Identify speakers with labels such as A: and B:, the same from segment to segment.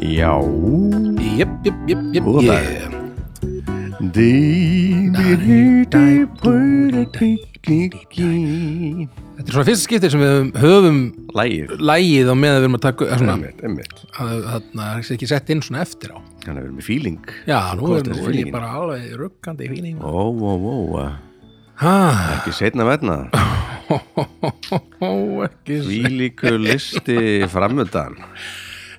A: Já
B: Jöp, jöp, jöp, jöp,
A: Góða
B: jöp
A: Dýmir heiti Pöldikiki
B: Þetta er svona fyrsta skiptir sem við höfum, höfum
A: Lægir
B: lægið á meðan við erum að taka eh, svona,
A: Einmitt, einmitt
B: að- þarna er þessi ekki sett inn svona eftir á
A: Þannig að við erum í fíling
B: Já, nú
A: Hvort
B: er,
A: er
B: nú er ég
A: feelingin?
B: bara alveg ruggandi í fíning
A: Ó, ó, ó eh,
B: Hæ,
A: Ekki hérna. setna verna
B: ekki
A: Fílíku listi framöndan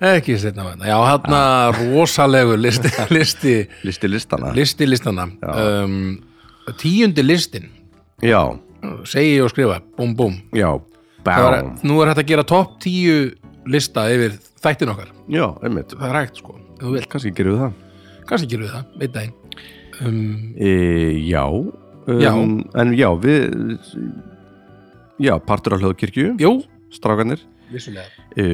B: ekki setna með þetta, já hann rosalegu listi, listi
A: Listi listana
B: listi listana um, tíundi listin
A: Já,
B: segi og skrifa, búm búm
A: já
B: Það var,
A: Bá
B: nú er hægt að gera topp tíu lista yfir þættin okkar,
A: Já, einmitt
B: það er hægt sko ef þú vilt,
A: Kanski gerum við það
B: kannski gerum við það, einn daginn um,
A: E, já, um,
B: Já.
A: En já, við Já, partur af hljóðkirkju
B: jú,
A: Strákanir
B: vissulega
A: e,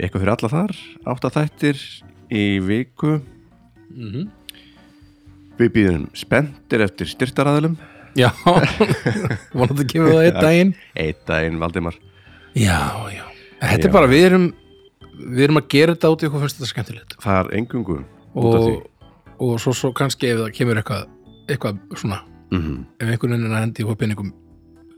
A: Eitthvað fyrir alla þar Átta þættir í viku
B: Mhm.
A: Við býðum spenntir eftir styrtaraðilum
B: Já, vonandi kemur það einn daginn
A: Eitt daginn Valdimar
B: Já, já Þetta er bara, við erum við erum að gera þetta út í okkur fyrst þetta skemmtilegt
A: Það er engungum út af því
B: og, og svo, svo kannski ef það kemur eitthvað eitthvað svona,
A: mm
B: ef einhvern veginn er að hendi okkur peningum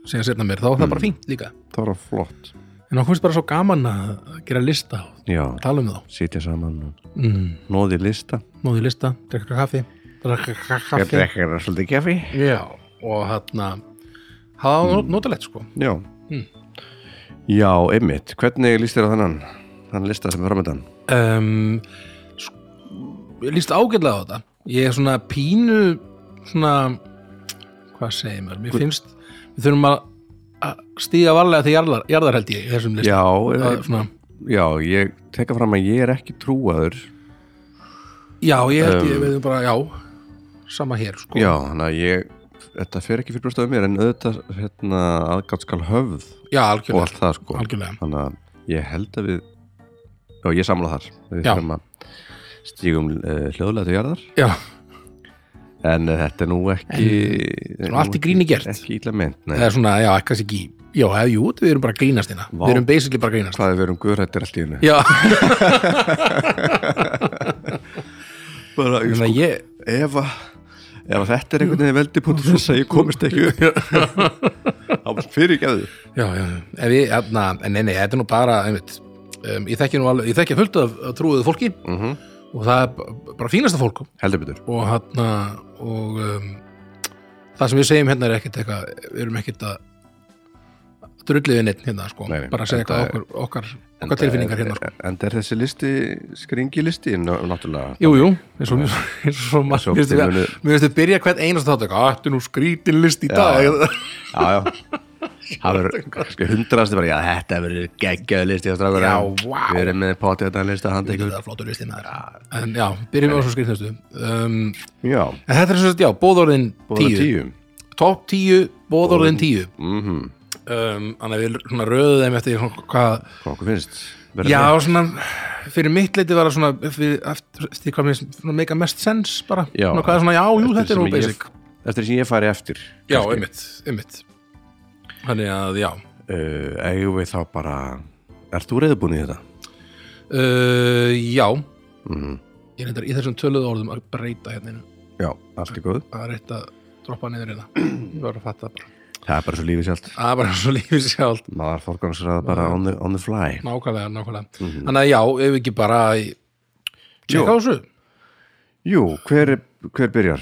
B: segja setna mér, þá er það
A: Mm.
B: bara fínt líka
A: Það var flott
B: en okkur finnst bara svo gaman að gera lista og
A: Já,
B: tala um þá
A: sitja saman og
B: mm,
A: Nóði lista
B: Nóði lista, drekka kaffi drekka
A: Ég
B: kaffi
A: drekkar svolítið keffi
B: Já, og þarna það var mm. notalegt sko
A: Já Já, einmitt, hvernig líst þér á þannan þann lista sem er framöndan
B: um, sk- ég líst ágætlega á þetta ég er svona pínu svona hvað segir maður, mér finnst við þurfum að að stíga varlega til jarðar, jarðar held ég í þessum list
A: Já,
B: það,
A: e,
B: er svona,
A: Já, ég teka fram að ég er ekki trúaður
B: já ég held ég við bara, já, sama hér sko.
A: Já, þannig að ég þetta fer ekki fyrir brjóstaðu mér en auðvitað hérna, aðgátt skal höfð
B: já
A: og
B: algjörlega,
A: allt það sko
B: algjörlega.
A: þannig að ég held að við já, ég samla þar við
B: Já.
A: þurfum að stígum uh, hljóðlega til jarðar
B: Já,
A: en uh, þetta er nú ekki en, eh,
B: allt í gríni gert.
A: ekki illa mynd, nei
B: það er svona, já, kannski ekki já, hef, jú, við erum bara að grínast hérna
A: Vá.
B: við erum basically bara að grínast
A: hvað er verið um guðrættir allt í hennu
B: já,
A: bara, ég,
B: þannig að ég
A: ef að ef að þetta er einhvern veginn veldi punktur þess að ég komist ekki upp þá fyrir ekki að þið
B: já, já, ef ég, hérna, en nei, nei, þetta er nú bara einmitt, um, ég þekki nú alveg, ég þekki fullt af af trúuðu fólki og það er b- bara fínasta fólk
A: Mhm. heldur betur
B: og hérna og um, það sem við segjum hérna er ekkert eitthvað, við erum ekkert að drullið við neitt hérna sko,
A: Nei, nei,
B: bara að segja
A: enda
B: eitthvað
A: er-
B: okkur, okkar, okkar tilfinningar hérna sko.
A: eh, en það er þessi listi skringi listi náttúrulega
B: Jú, jú, eins og, eins og svo margt,
A: Svo
B: mér finnst
A: munu-
B: þetta- mér finnst þau byrja hvern einast þátt eitthvað, ættu nú skrítin list í dag
A: já, já það verður kannski hundrasti bara, já, þetta verður geggjöðu listi á strákur
B: Já, vá.
A: við erum með potið þetta listi að handa ykkur
B: það er flottur listi maður en já, byrjum við á svo skrýtnastu um,
A: já,
B: en þetta er svo að já, bóðorðin
A: bóða
B: tíu,
A: tíu, tíu.
B: topp tíu, bóðorðin tíu
A: Mm -hmm.
B: um, þannig að við svona röðum þeim eftir svona hvað
A: hvað okkur finnst Verður
B: Já,
A: það?
B: svona, fyrir mitt leiti var það svona, fyrir, eftir, eftir hvað mér svona meika mest sens bara,
A: Já.
B: svona hvað er svona, já, jú,
A: Eftir
B: þetta er nú
A: sem ég-
B: basic.
A: eftir sem ég fari eftir
B: Já, einmitt, einmitt. Þannig að, já,
A: uh, eigum við þá bara ert þú reyðbúin í þetta?
B: uh, já, Mhm.
A: Mm.
B: ég reyndar í þessum töluðu orðum að breyta hérna, inn.
A: já, allt er góð
B: að reyta að droppa niður hérna, ég var að fatta bara.
A: það er bara svo lífið sjálft
B: Það er bara svo lífið sjálf,
A: maður fórgangsraða bara on the, on the fly
B: nákvæmlega, nákvæmlega. Þannig að, já, ef við ekki bara, í-
A: Jú.
B: tjekka á þessu,
A: jú, hver, hver byrjar?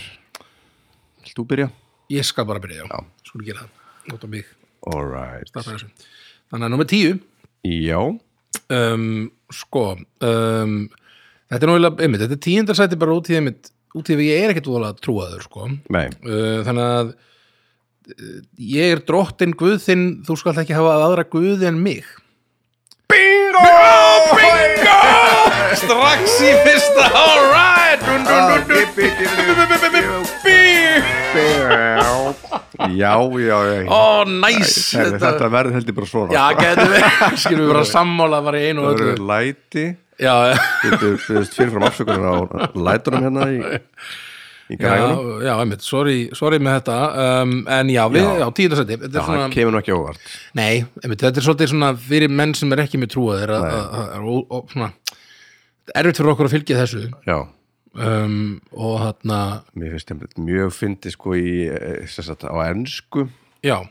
A: Vilt þú byrja?
B: ég skal bara byrja, já, skulum gera það, nota mig,
A: alright
B: starta þessu. Þannig að, nummer tíu,
A: já,
B: um, sko um, þetta er náttúrulega einmitt, þetta er tíundarsæti bara út í einmitt út í því að ég er ekkert voðalega trúaður sko.
A: nei,
B: uh, þannig að uh, ég er drottinn guð þinn þú skalt ekki hafa aðra guði en mig
A: Bingo! Bingo! Strax í fyrsta Alright Ah, Já, já, já
B: ó, næs
A: Herri,
B: þetta,
A: Þetta verður heldur bara svona
B: já, getur við skilum við bara sammála bara í einu
A: Það
B: og öllu
A: verður læti
B: já, já,
A: Getur byrðist fyrirfram afsökunar á lætunum hérna í, í græðunum
B: já, einmitt, sorry, sorry með þetta um, en já, við,
A: Já.
B: já, tíundarsæti þetta er
A: Það
B: svona
A: kemur nú ekki óvart
B: Nei, einmitt, þetta er svolítið svona fyrir menn sem er ekki með trúa þeir að, að, að, að, að, að svona, erfitt fyrir okkur að fylgja þessu
A: já,
B: um, og þarna,
A: mér finnst þeim mjög fyndi sko í, eh, sem sagt, á ennsku
B: já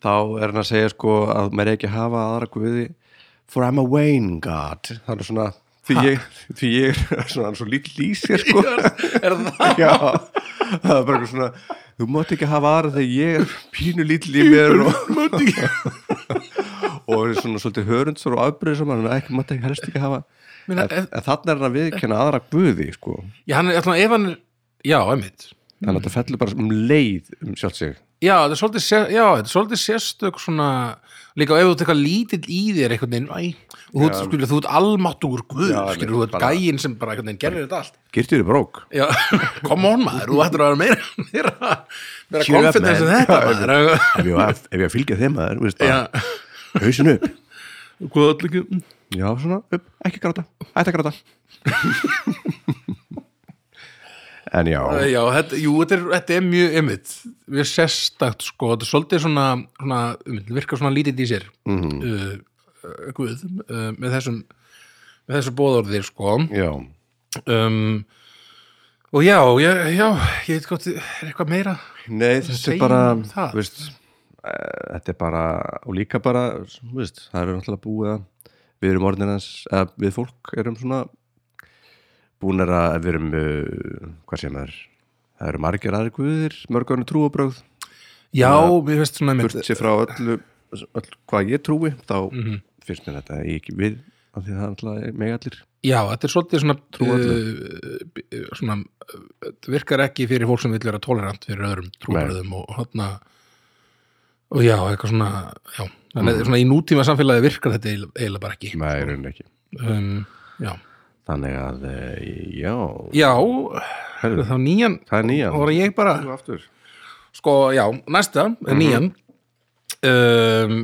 A: þá er hann að segja sko að maður er ekki að hafa aðra guði for I'm a Wayne God þannig svona, því ég, því ég er svona, hann er svo lítill í sér sko
B: er það?
A: já, það er bara eitthvað svona þú mátt ekki hafa aðra þegar ég er pínu lítill í mér og, og er svona svolítið hörundsor og afbreyðisamar hann er ekki, mátt ekki helst ekki hafa en,
B: Meina,
A: en þannig er hann að viðkenna aðra guði sko,
B: já, hann er alltaf, ef hann er já, einmitt
A: þannig að það fellur bara um leið um sjálf sig
B: Já, þetta er svolítið, sér, já, þetta er svolítið sérstök svona, líka ef þú ert eitthvað lítill í þér einhvern veginn, æ, og þú, ert, skilur, þú ert almáttugur guð,
A: Já, einmitt,
B: skilur, þú ert
A: bara-
B: gæinn sem bara einhvern veginn gerir þetta allt.
A: Girtir í brók
B: Já, come on maður, þú ættir að vera meira, meira, meira
A: Cheer up,
B: confidence en
A: man. Já,
B: þetta maður.
A: ef ég á að- ef ég á að fylgja þeim að
B: Já,
A: þeir hausin upp
B: hvað allir ekki,
A: Já, svona, upp, ekki gráta, ætti að gráta En já,
B: Eh, já, þetta, jú, þetta er, þetta er mjög ymmit, mjög sérstakt, sko, þetta er svolítið svona, svona ymmit, virkar svona lítill í sér, mm -hmm. uh, uh, guð, uh, með þessum, með þessu bóðorðir, sko.
A: já
B: um, og já, já, já ég veit gott, er eitthvað meira
A: Nei, þetta er
B: Segjum
A: bara,
B: það.
A: þú veist eh, Þetta er bara, og líka bara þú veist, það eru náttúrulega búið að við erum orðinans, eða við fólk erum svona búnir að við erum, eh, hvað sé maður það eru margir aðri guðir mörgarnu trúabrögð,
B: já, mér finnst svona einmitt,
A: burt sér frá öllu öll, hvað ég trúi, þá
B: Mhm.
A: finnst mér þetta ekki við af því að það er náttúrulega mig allir
B: já, þetta er svolítið svona
A: Trúarlega.
B: uh, svona uh, þetta virkar ekki fyrir fólk sem vill vera tolerant fyrir öðrum trúbröðum og hana og já, eitthvað svona já, mm. svona í nútíma samfélagi virkar þetta eiginlega eiginlega bara ekki
A: Nei, í rauninni ekki
B: um, já,
A: Þannig að, eh, já,
B: já
A: Herðu.
B: þá nýjan,
A: það er nýja
B: þá var ég bara
A: Þú aftur
B: sko, já, næsta er nýjan um,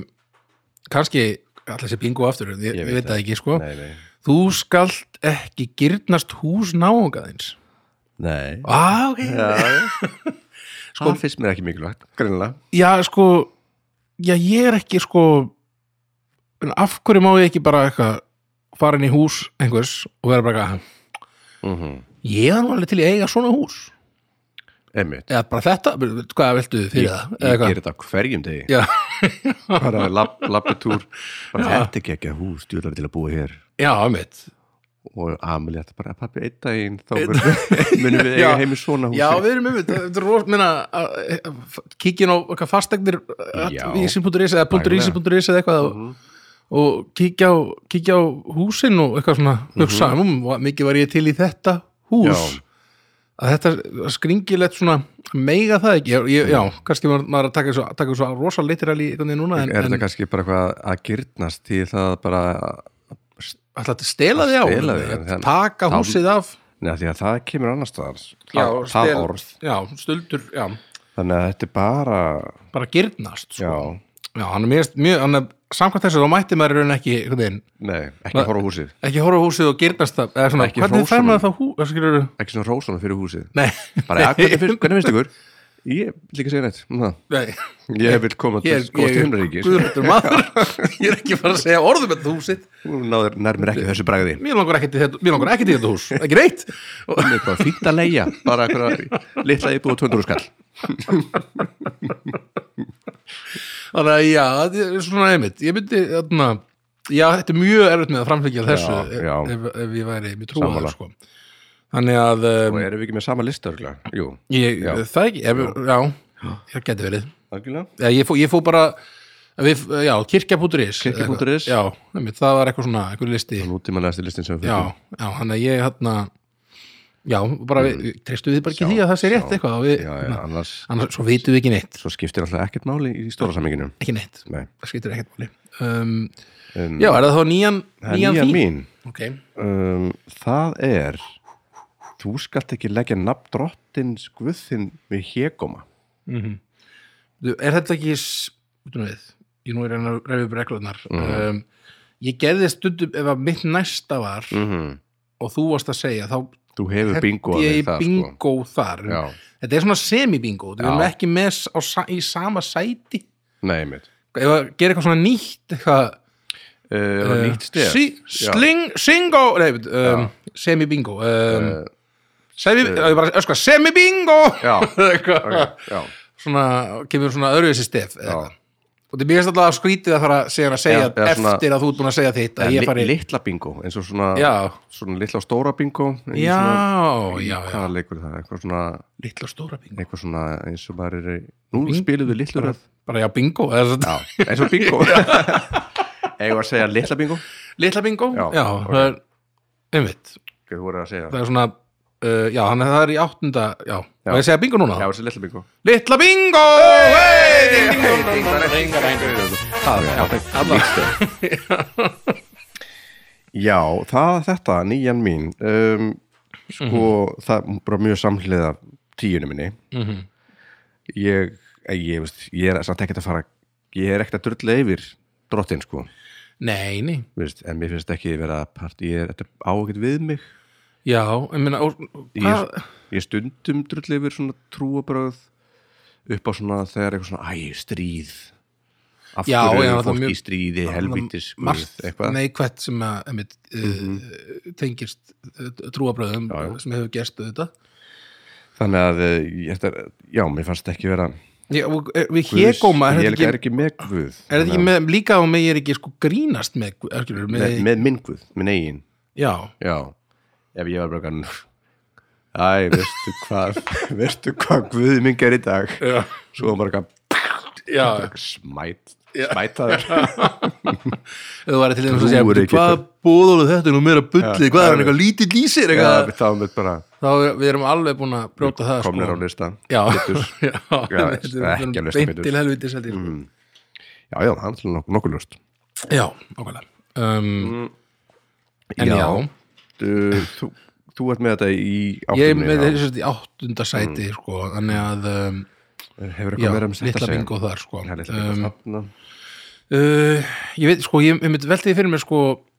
B: kannski allir sér bingo aftur, ég, ég veit það ekki sko.
A: Nei, nei
B: þú skalt ekki gyrnast hús náungaðins
A: Nei
B: ah, ok, já.
A: Sko, það finnst mér ekki mikilvægt Greinlega
B: sko já, ég er ekki sko en af hverju má ég ekki bara eitthvað fara inn í hús einhvers og vera bara eitthvað
A: mm -hmm.
B: ég er nú alveg til í að eiga svona hús
A: Einmitt
B: eða bara þetta, hvað viltu fyrir
A: Ég,
B: það Eða
A: ég
B: eitthvað.
A: ger þetta á hverjum degi
B: já,
A: Bara lab, labbitúr Bara þetta er ekki hús, djúlar til að búa hér
B: já, mitt
A: Og Amelie ætti bara pappi einn daginn Þá verður- munum við eiga
B: Já.
A: heim í svona húsi
B: Já, við erum yfir, þetta er rost minna kíkja inn á okkar fastegnir
A: Já. Mhm.
B: ísin.is eða .ísin.is eða eitthvað og, og kíkja á, kíkja á húsin og eitthvað svona hugsa, mm mikið var ég til í þetta hús
A: Mhm. Já.
B: að þetta skringilegt svona meiga það ekki, ég, ég, já, kannski maður, maður er að taka svo, taka svo rosa litirali einhvern veginn núna en,
A: Mhm. Er
B: en
A: þetta kannski bara eitthvað að gyrnast Því það bara
B: alltaf að stela því á
A: Stela því,
B: að
A: en-
B: taka
A: þá-
B: húsið af
A: Nei, því að það kemur annars staðar
B: já,
A: Það- Það
B: stel-
A: orð
B: já, stuldur, já,
A: Þannig að þetta er bara
B: bara girnast sko.
A: Já,
B: Já, hann er mjög, mjög hann er, samkvæmt þessu þá mætti maður í rauninni ekki einhvern veginn,
A: nei, ekki horfa á húsið
B: ekki horfa á húsið og gyrnast það, eða svona,
A: Ekki
B: hvernig
A: hrósa
B: fær
A: honum.
B: maður það hú, það skilur
A: ekki svona rósana fyrir húsið
B: nei,
A: bara, ja, hvernig, finnst, hvernig finnst ykkur? ég vil ekki segja neitt um það.
B: nei
A: ég vil koma til
B: ég,
A: skoðast
B: ég,
A: heimnaríkis
B: guðrættur maður ég er ekki fara að segja orðum þetta húsið
A: náður nærmir ekki þessu bragði
B: mér langar ekki til þetta, mér langar ekki til þetta hús ekki neitt, og,
A: Nei, bara fínt að leia bara eitthvað litla íbúð og 200 skall
B: þannig að já, þetta er svona einmitt ég myndi, þarna já, þetta er mjög erfitt með að framfylgja þessu
A: Já, já.
B: Ef, ef ég væri, mér trúa
A: Sammála.
B: það sko þannig að,
A: og
B: um,
A: erum við ekki með sama lista örugglega? jú,
B: ég,
A: já.
B: það ekki ef, já, það geti verið
A: algjörlega
B: Já, ég fó, ég fó bara við, já, kirkja.is
A: Kirkja.is.
B: já, einmitt, það var eitthvað svona, eitthvað listi já,
A: nútímanlegasti listin sem við fylgjum
B: já, hann að ég hann já, bara við, treystum við bara ekki
A: Sjá,
B: því að það sé rétt
A: sjá.
B: eitthvað og við,
A: Mm. já, já, annars
B: annars svo vitum við ekki neitt
A: svo skiptir alltaf ekkert máli í stóra saminginu
B: ekki neitt,
A: nei,
B: það skiptir ekkert máli um,
A: um,
B: já, er það þá nýjan
A: það er nýja
B: þín?
A: mín
B: ok,
A: um, það er þú skalt ekki leggja nafn drottins guðinn við hégóma
B: Þú, er þetta ekki s- út um við, ég nú er að reyfi upp reglurnar
A: Mhm.
B: um, ég gerði stundum ef að mitt næsta var
A: mm -hmm.
B: og þú varst að segja, þá
A: Þú hefur
B: henti
A: bingo að
B: ég
A: þig
B: í
A: það sko.
B: bingo þar
A: Já,
B: Þetta er svona semi-bingo, við
A: Já.
B: erum ekki með s- á, sa- í sama sæti
A: nei mitt
B: Ef að gera eitthvað svona nýtt eitthvað,
A: uh, var nýtt stef
B: Eh, sí, Sling, singo Nei, veit, um, Semi-bingo um, semi, ég bara öskra, Semi-bingo
A: Eh, Já,
B: Eitthvað.
A: ok, já,
B: Svona, kemur svona öðruvísi stef eða
A: já.
B: eitthvað. Og þetta er mér alltaf skrítið að fara síðan að segja
A: Já, eða svona-
B: eftir að þú ert búin að segja þitt að
A: Li,
B: ég fari
A: litla bingo, eins og svona
B: Já,
A: svona litla og stóra bingo eins og
B: já,
A: svona,
B: já, já
A: hvaða leikur er það, eitthvað svona
B: Lítla stóra bingo
A: eitthvað svona eins og maður er í nú spiluðu litlu röð
B: Bara já, bingo
A: já, eins og bingo eigum við að segja litla bingo
B: Lítla bingo,
A: Já,
B: já
A: ok.
B: það er Einmitt,
A: Ok, þú voru að segja
B: það
A: það
B: er svona uh, Já, þannig að það er í áttunda Já, já. ég segja bingo núna
A: já, þessi litla bingo
B: Litla bingo
A: það er alltaf já, það þetta nýjan mín um, sko, það er bara mjög samhliða tíunum minni
B: Mhm.
A: ég, ég, veist, ég er samt ekkert að fara ég er ekkert að drulla yfir drottin sko
B: Nei, nei,
A: veist, en mér finnst ekki vera part, ég er þetta á ekkert við mig
B: já Ég meina, og-
A: ég,
B: hvað
A: ég stundum drull yfir svona trúabröð upp á svona þegar eitthvað svona æ, stríð af
B: Já,
A: hverju
B: já,
A: er
B: það er
A: fólk
B: mjög-
A: í stríði, helvítis guð,
B: margt
A: eitthvað Mhm.
B: neikvætt sem að einmitt, uh, tengist uh, trúabröðum
A: Já, já.
B: sem hefur gerst auðvitað
A: þannig að eh, ég, þetta, já, mér fannst ekki vera
B: Já, og, eh, við hégóma
A: ég
B: er
A: er ekki,
B: þetta ekki,
A: er ekki með guð
B: er þetta ekki
A: þannig
B: með, líka á mig ég er ekki sko grínast með, guð, skilur,
A: að-
B: með,
A: með, með minn guð, minn eigin
B: já,
A: já, ef ég var bara kann æ, veistu hvað veistu hvað guð minn gerir í dag
B: já,
A: svo var bara
B: já
A: eitthvað smæt smætaður
B: eða var til þess að
A: Trúir
B: segja
A: ekki
B: hvað bóðólu þetta er nú meira bulli, hvað er hann eitthvað lítið lýsir
A: Já,
B: eitthvað,
A: við þáum þetta bara
B: þá er- við erum alveg búin að brjóta það sko.
A: komnir á lista
B: já, já,
A: Já,
B: þetta er-
A: ekki
B: við erum
A: að lausta
B: beint
A: betur.
B: til helviti seldi, mm.
A: Já, já, það er náttúrulega nokkuð, nokkuð ljóst
B: já, okkarlega
A: Mm.
B: um, en já,
A: þú, þú, þú ert með þetta í
B: ég er
A: áttunni
B: með
A: já.
B: þessi í áttunda sæti sko, þannig að um,
A: Hefur
B: já,
A: eitthvað meira um þetta
B: litla bingo þar sko.
A: Já, litla
B: um,
A: bingo þarna
B: uh, ég veit sko, ég, ég velti því fyrir mér sko,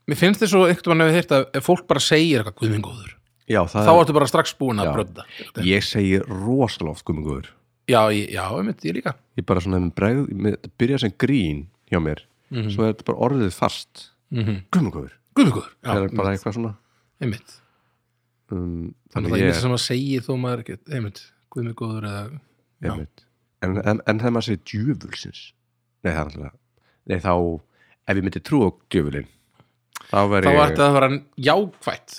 B: mér finnst þess að einhvern veginn hefur heyrt að ef fólk bara segir eitthvað guðmingóður
A: Já,
B: þá
A: það er
B: ertu bara strax búin að
A: Já.
B: bröfda já,
A: Ég segi rosalega oft gummingur
B: ég, já, ég veit, ég líka
A: Ég bara svona með bregð með, Það byrja sem grín hjá mér
B: Mhm,
A: Svo er þetta bara orðið fast
B: mm -hmm.
A: Gummingur
B: guðmingóður, já,
A: Það er bara eitthvað svona
B: ég veit
A: um,
B: þannig að það er sem að segja þó maður ekki, ég veit, guðmingóður eða, já,
A: ég veit. en, en, en þegar maður segir djöfulsins Nei, það er alltaf Nei, þá Ef ég myndi trú á djöfulin Þá
B: þá
A: væri
B: ertu að vera jákvætt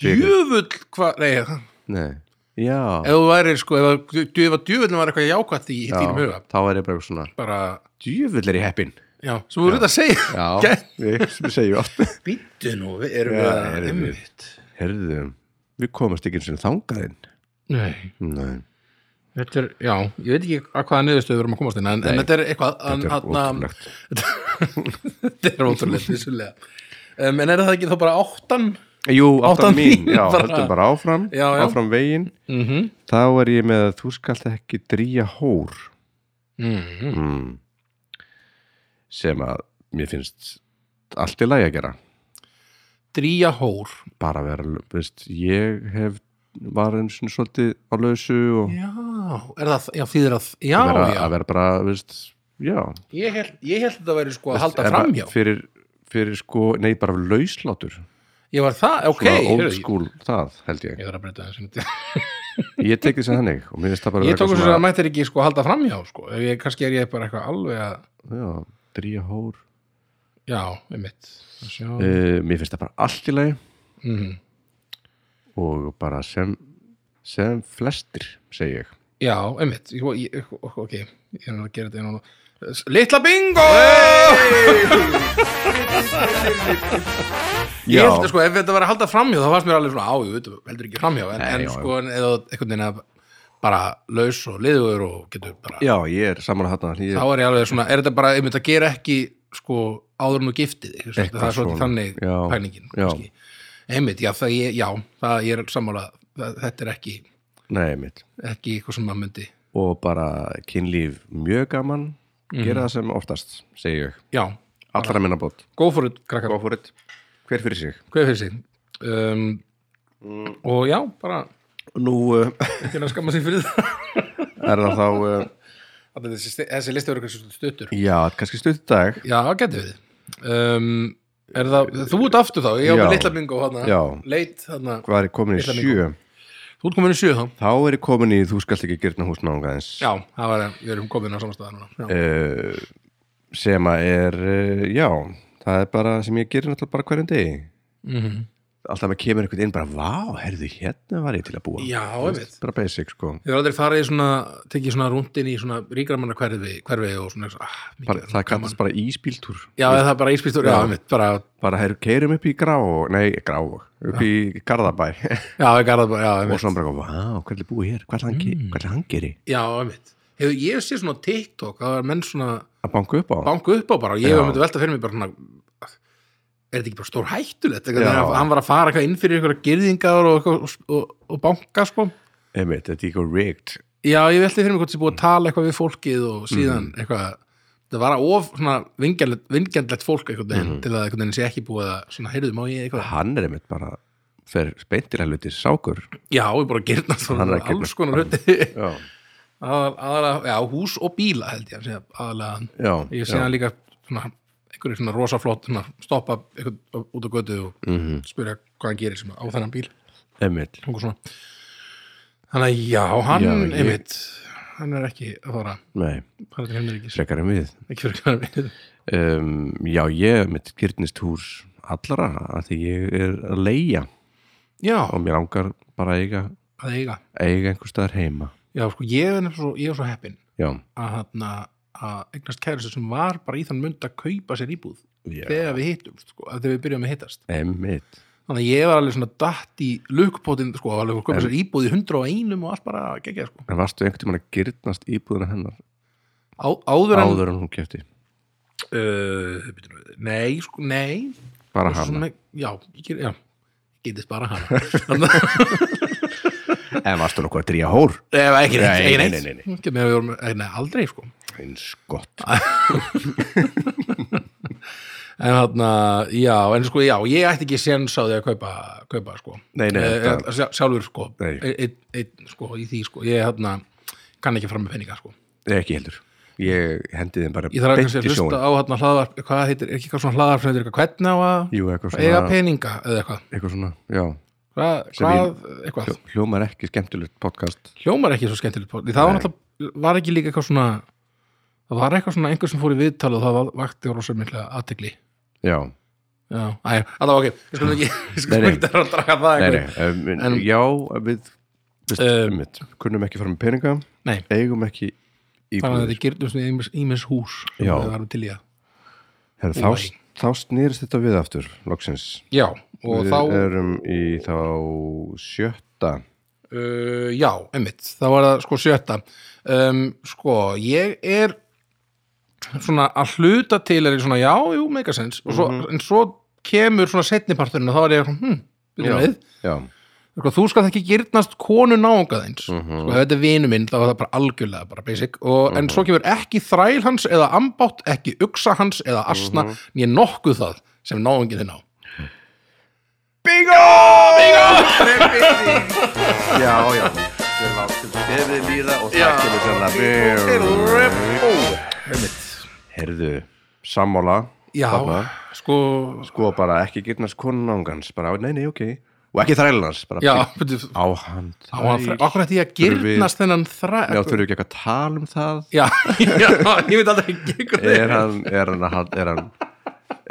A: Ég-
B: djöfull hvað, nei, ef
A: Nei, já
B: þú væri sko, ef djöfullin var eitthvað jákvætt í
A: Já,
B: þínum huga,
A: þá er ég bara eitthvað svona
B: bara
A: djöfull er í heppin
B: já, sem þú verður að segja
A: já, við sem við segjum oft
B: býttu nú, við erum
A: Já,
B: við að
A: erum við.
B: einmitt.
A: herðu, við komast ekki eins og þangaðinn
B: nei
A: nei,
B: Þetta er, já, ég veit ekki að hvaða niðurstöðu við erum að komast inn, en, en þetta er eitthvað
A: þetta er
B: ótrúlegt
A: ótrúlegt
B: Þetta er ótrúlegt, vissulega um, En er það ekki þá bara áttan?
A: jú,
B: Áttan
A: áttan mín,
B: mín,
A: já,
B: bara.
A: höldum bara áfram
B: Já, já.
A: áfram veginn,
B: Mm -hmm.
A: þá er ég með að þú skalt ekki drýja hór
B: Mm-hmm.
A: mm. sem að mér finnst allt í lagi að gera
B: Dría hór
A: bara vera, veist, ég hef var eins og svolítið á lausu og
B: Já, er það, já, þýðir að Já,
A: að vera,
B: já,
A: að vera bara, veist, já
B: ég held, ég held að þetta væri sko að halda
A: En
B: fram hjá
A: fyrir, fyrir sko, nei bara lauslátur
B: Ég var það, ok,
A: Svona old
B: heyrðu,
A: school það held
B: Ég
A: ég
B: þarf að breyta þessu
A: ég tek því sem þannig og mér finnst það bara
B: Ég
A: vera
B: tók
A: eitthvað
B: þessu að mættir ekki sko að halda fram hjá sko. Ef ég, kannski er ég bara eitthvað alveg að
A: já, dríja hór
B: Já, einmitt Að sjá.
A: uh, mér finnst það bara allt í lagi
B: Mm. Mhm.
A: og bara sem sem flestir, segi ég
B: Já, einmitt, ég, ég, ok, ég er nú að gera þetta einu og Litla bingo!
A: Eh,
B: Ég
A: Já.
B: held, sko, ef þetta var að halda framhjá þá varst mér alveg svona, á, ég veit, heldur ekki framhjá en,
A: Nei,
B: en
A: Eh, já, já.
B: sko, en eða þú einhvern veginn að bara laus og liður og getur bara,
A: já, ég er saman að þarna
B: þá
A: ég,
B: er ég alveg svona er þetta bara, einmitt að gera ekki sko, áður nú giftið, ekki, svona,
A: Eitthvað
B: það er svolítið
A: svona,
B: þannig
A: já,
B: pælingin,
A: já.
B: kannski einmitt, já, það, ég, já, það ég er sammála það, þetta er ekki,
A: nei mitt
B: ekki eitthvað sem maður myndi
A: og bara kynlíf mjög gaman gera það sem oftast, segi ég
B: já,
A: allra minna bótt,
B: go for it, krakkar
A: góð fór hver fyrir sig
B: hvað fyrir sig um, og já, bara
A: nú uh,
B: ekki að skamma sig fyrir það
A: er það þá uh,
B: Alla þessi, þessi listi verður kannski svona stuttur
A: já, kannski stutt dag
B: já, getur við um, Er það, þú ert aftur þá, ég á
A: Já.
B: með litla bingo hana,
A: Já.
B: leit hana,
A: hvað er ég komin í
B: Litla
A: sjö
B: þú ert komin í sjö þá.
A: þá er ég komin í þú skalt ekki gyrna húsnáðunga eins
B: Já, það var, við erum komin á samastaðar núna. Já.
A: uh, sem að er uh, já, það er bara sem ég gerir náttúrulega bara hverjum degi
B: Mhm.
A: alltaf maður kemur einhvern inn bara vá, herðu hérna var ég til að búa
B: Já, ég veit.
A: bara basic sko
B: Þið var aldrei farið í svona, tekið svona rúndin í svona ríkramanna hverfi, hverfi og svona, ah, mikið
A: bara,
B: er
A: það
B: gaman.
A: kallast bara íspíltúr
B: Já, það er bara íspýstur, já,
A: Já.
B: ég veit, bara,
A: bara heyrðu, keirum upp í Grávog nei, Grávog, upp í Garðabæ
B: já, ég garða bara, já, ég
A: og
B: veit.
A: svo hann bara, vá, hvernig búið hér hvað er mm. hann gerir
B: Já, ég veit. Hefur, ég sé svona TikTok, það var menn svona
A: að banka upp á hann
B: banku upp á bara og ég
A: Já.
B: var myndi velta fyrir mig bara svona, ah, er þetta ekki bara stór hættulegt?
A: Já.
B: Hann var að fara eitthvað inn fyrir einhverja gyrðingar og, og, og, og banka, sko.
A: einmitt, þetta er ekki rigged
B: Já, ég velti fyrir mig hvort sé búið að tala eitthvað við fólkið og síðan
A: Mhm.
B: eitthvað það var of svona vingjarnlegt- vingjarnlegt fólk einhvern veginn
A: Mhm.
B: til að einhvern veginn sé ekki búið að svona, heyrðu, má ég eitthvað?
A: hann er einmitt bara fer speintilega hluti sákur
B: Já, ég er bara að gyrna
A: Hann er
B: svona
A: að gyrna.
B: alls konar hluti
A: já,
B: Aðal- aðalega, já, hús og bíla held ég að segja, aðalega
A: já,
B: ég sé hann líka svona, einhverju svona rosaflott svona, stoppa einhvern út á götu og
A: Mhm.
B: spyrja hvað hann gerir sem á þennan bíl
A: einmitt
B: einhver svona. þannig að já, hann
A: Já, ég-
B: einmitt, hann er ekki að fara
A: nei,
B: fara til Henrikkis,
A: frekar en við
B: ekki fyrir hvað hann vinur
A: um, já, ég mitt gyrnist hús allra að því ég er að leia
B: já,
A: og mér langar bara að eiga,
B: að eiga
A: eiga einhver staðar heima
B: já, sko, ég er nefnilega svo, ég er svo heppin
A: já,
B: að hann að eignast kæristu sem var bara í þann mynd að kaupa sér íbúð
A: já.
B: þegar við hittum, sko, að þegar við byrjum að hittast
A: einmitt
B: þannig að ég var alveg svona datt í lukupótin sko, alveg að kaupa sér íbúð í 101 og allt bara geggja sko.
A: en varstu einhvern tímann að gyrnast íbúðuna hennar
B: Á, áður en
A: áður en hún kefti
B: uh, bíddu nú við. nei, sko, nei
A: bara
B: Og
A: hana,
B: svona, já, ég ger, já, getist bara hana þannig að
A: en varstu nokkuð að dríja hór
B: Nei, ekki neitt,
A: Nei,
B: ekki
A: nei,
B: neitt.
A: nei, nei,
B: Ekki með að við vorum, nei, nei, aldrei sko
A: eins gott
B: en þarna, já, en sko, já, ég ætti ekki séns á því að kaupa, kaupa sko
A: Nei, nei,
B: Eh,
A: þetta-
B: sjá- sjálfur sko
A: Nei.
B: einn, einn, sko, í því sko ég þarna, kann ekki fram með penninga sko
A: Nei, ekki heldur ég hendi þeim bara
B: Ég þarf að
A: beint
B: kannski að
A: í
B: hlusta
A: sjóinn.
B: á hérna hlaðvarp, hvað heitir, er ekki eitthvað svona hlaðvarp sem heitir eitthvað hvernig á að
A: Jú, eitthvað
B: eiga
A: svona,
B: peninga eða eitthvað,
A: eitthvað svona já,
B: hvað,
A: Sem
B: hvað eitthvað,
A: hljó- hljómar ekki skemmtilegt podcast
B: hljómar ekki svo skemmtilegt pól, það var
A: Nei.
B: náttúrulega, var ekki líka eitthvað svona, það var eitthvað svona einhver sem fór í viðtal og það var, vakti og rosa mikla aðtegli,
A: já,
B: já, æ, alltaf ok, við skulum ekki, við skulum
A: Nei, nei.
B: ekki að draga það
A: nei, nei
B: eitthvað,
A: um,
B: En-
A: já, við, við
B: Um,
A: um, kunnum ekki fara með peninga
B: Nei.
A: eigum ekki
B: þannig að
A: íbúðir
B: þetta gerðum svona ímis, ímis hús, sem
A: Já.
B: við varum til í að,
A: Herra,
B: Úvæ.
A: þá, þá snýrist þetta við aftur loksins
B: já, og
A: við
B: þá,
A: erum í þá sjötta
B: Uh, já, einmitt, þá var það sko sjötta um, Sko, ég er svona að hluta til er ég svona, já, jú, megasens og svo,
A: Mhm.
B: en svo kemur svona setniparturinn og þá er ég, svona, hm, byrja
A: Já.
B: með
A: já,
B: sko, þú skal ekki gyrnast konu náungaðins mm
A: Mhm.
B: -hmm. sko, ef þetta er vinu minn, þá var það bara algjörlega bara basic, og, en svo kemur ekki þræl hans eða ambátt, ekki uksa hans eða asna,
A: Mhm.
B: mm né nokkuð það sem náungin þinn á
A: bingo bingo já, já við látum stefið líða og það kemur sérna
B: Einmitt.
A: herðu, sammála
B: Já,
A: þarna.
B: sko,
A: sko bara ekki gyrnast konungans bara, nei, nei, ok, og ekki þrælunans bara
B: já, betur,
A: á hann
B: Á hann
A: þræl.
B: þræ- Akkur ætti ég að
A: Þurfum við-
B: girnast þennan þræ
A: já, þurfum við ekki eitthvað að tala um það
B: já, já, ég veit aldrei ekki hvað
A: er hann, er hann, að hal- er hann